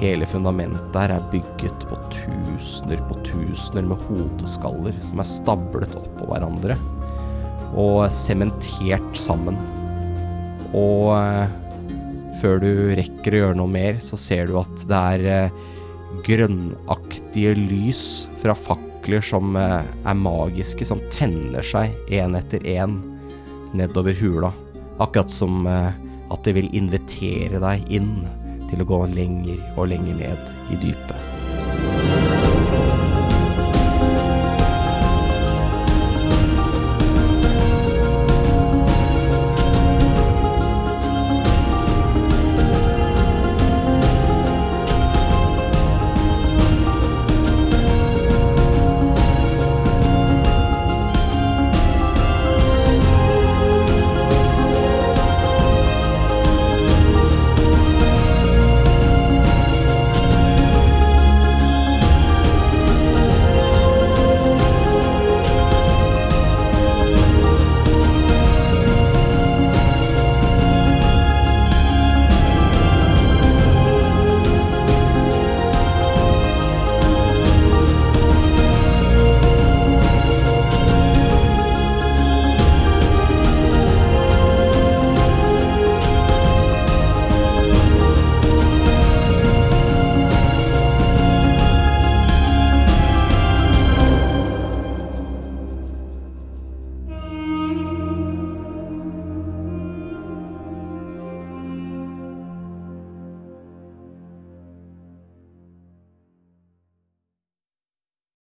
[SPEAKER 4] Hele fundamentet her er bygget på tusener på tusener med hodeskaller som er stablet oppå hverandre og sementert sammen. Og eh, før du rekker å gjøre noe mer, så ser du at det er eh, grønnaktige lys fra fakler som eh, er magiske, som tenner seg én etter én nedover hula. Akkurat som eh, at det vil invitere deg inn til å gå lenger og lenger ned i dypet.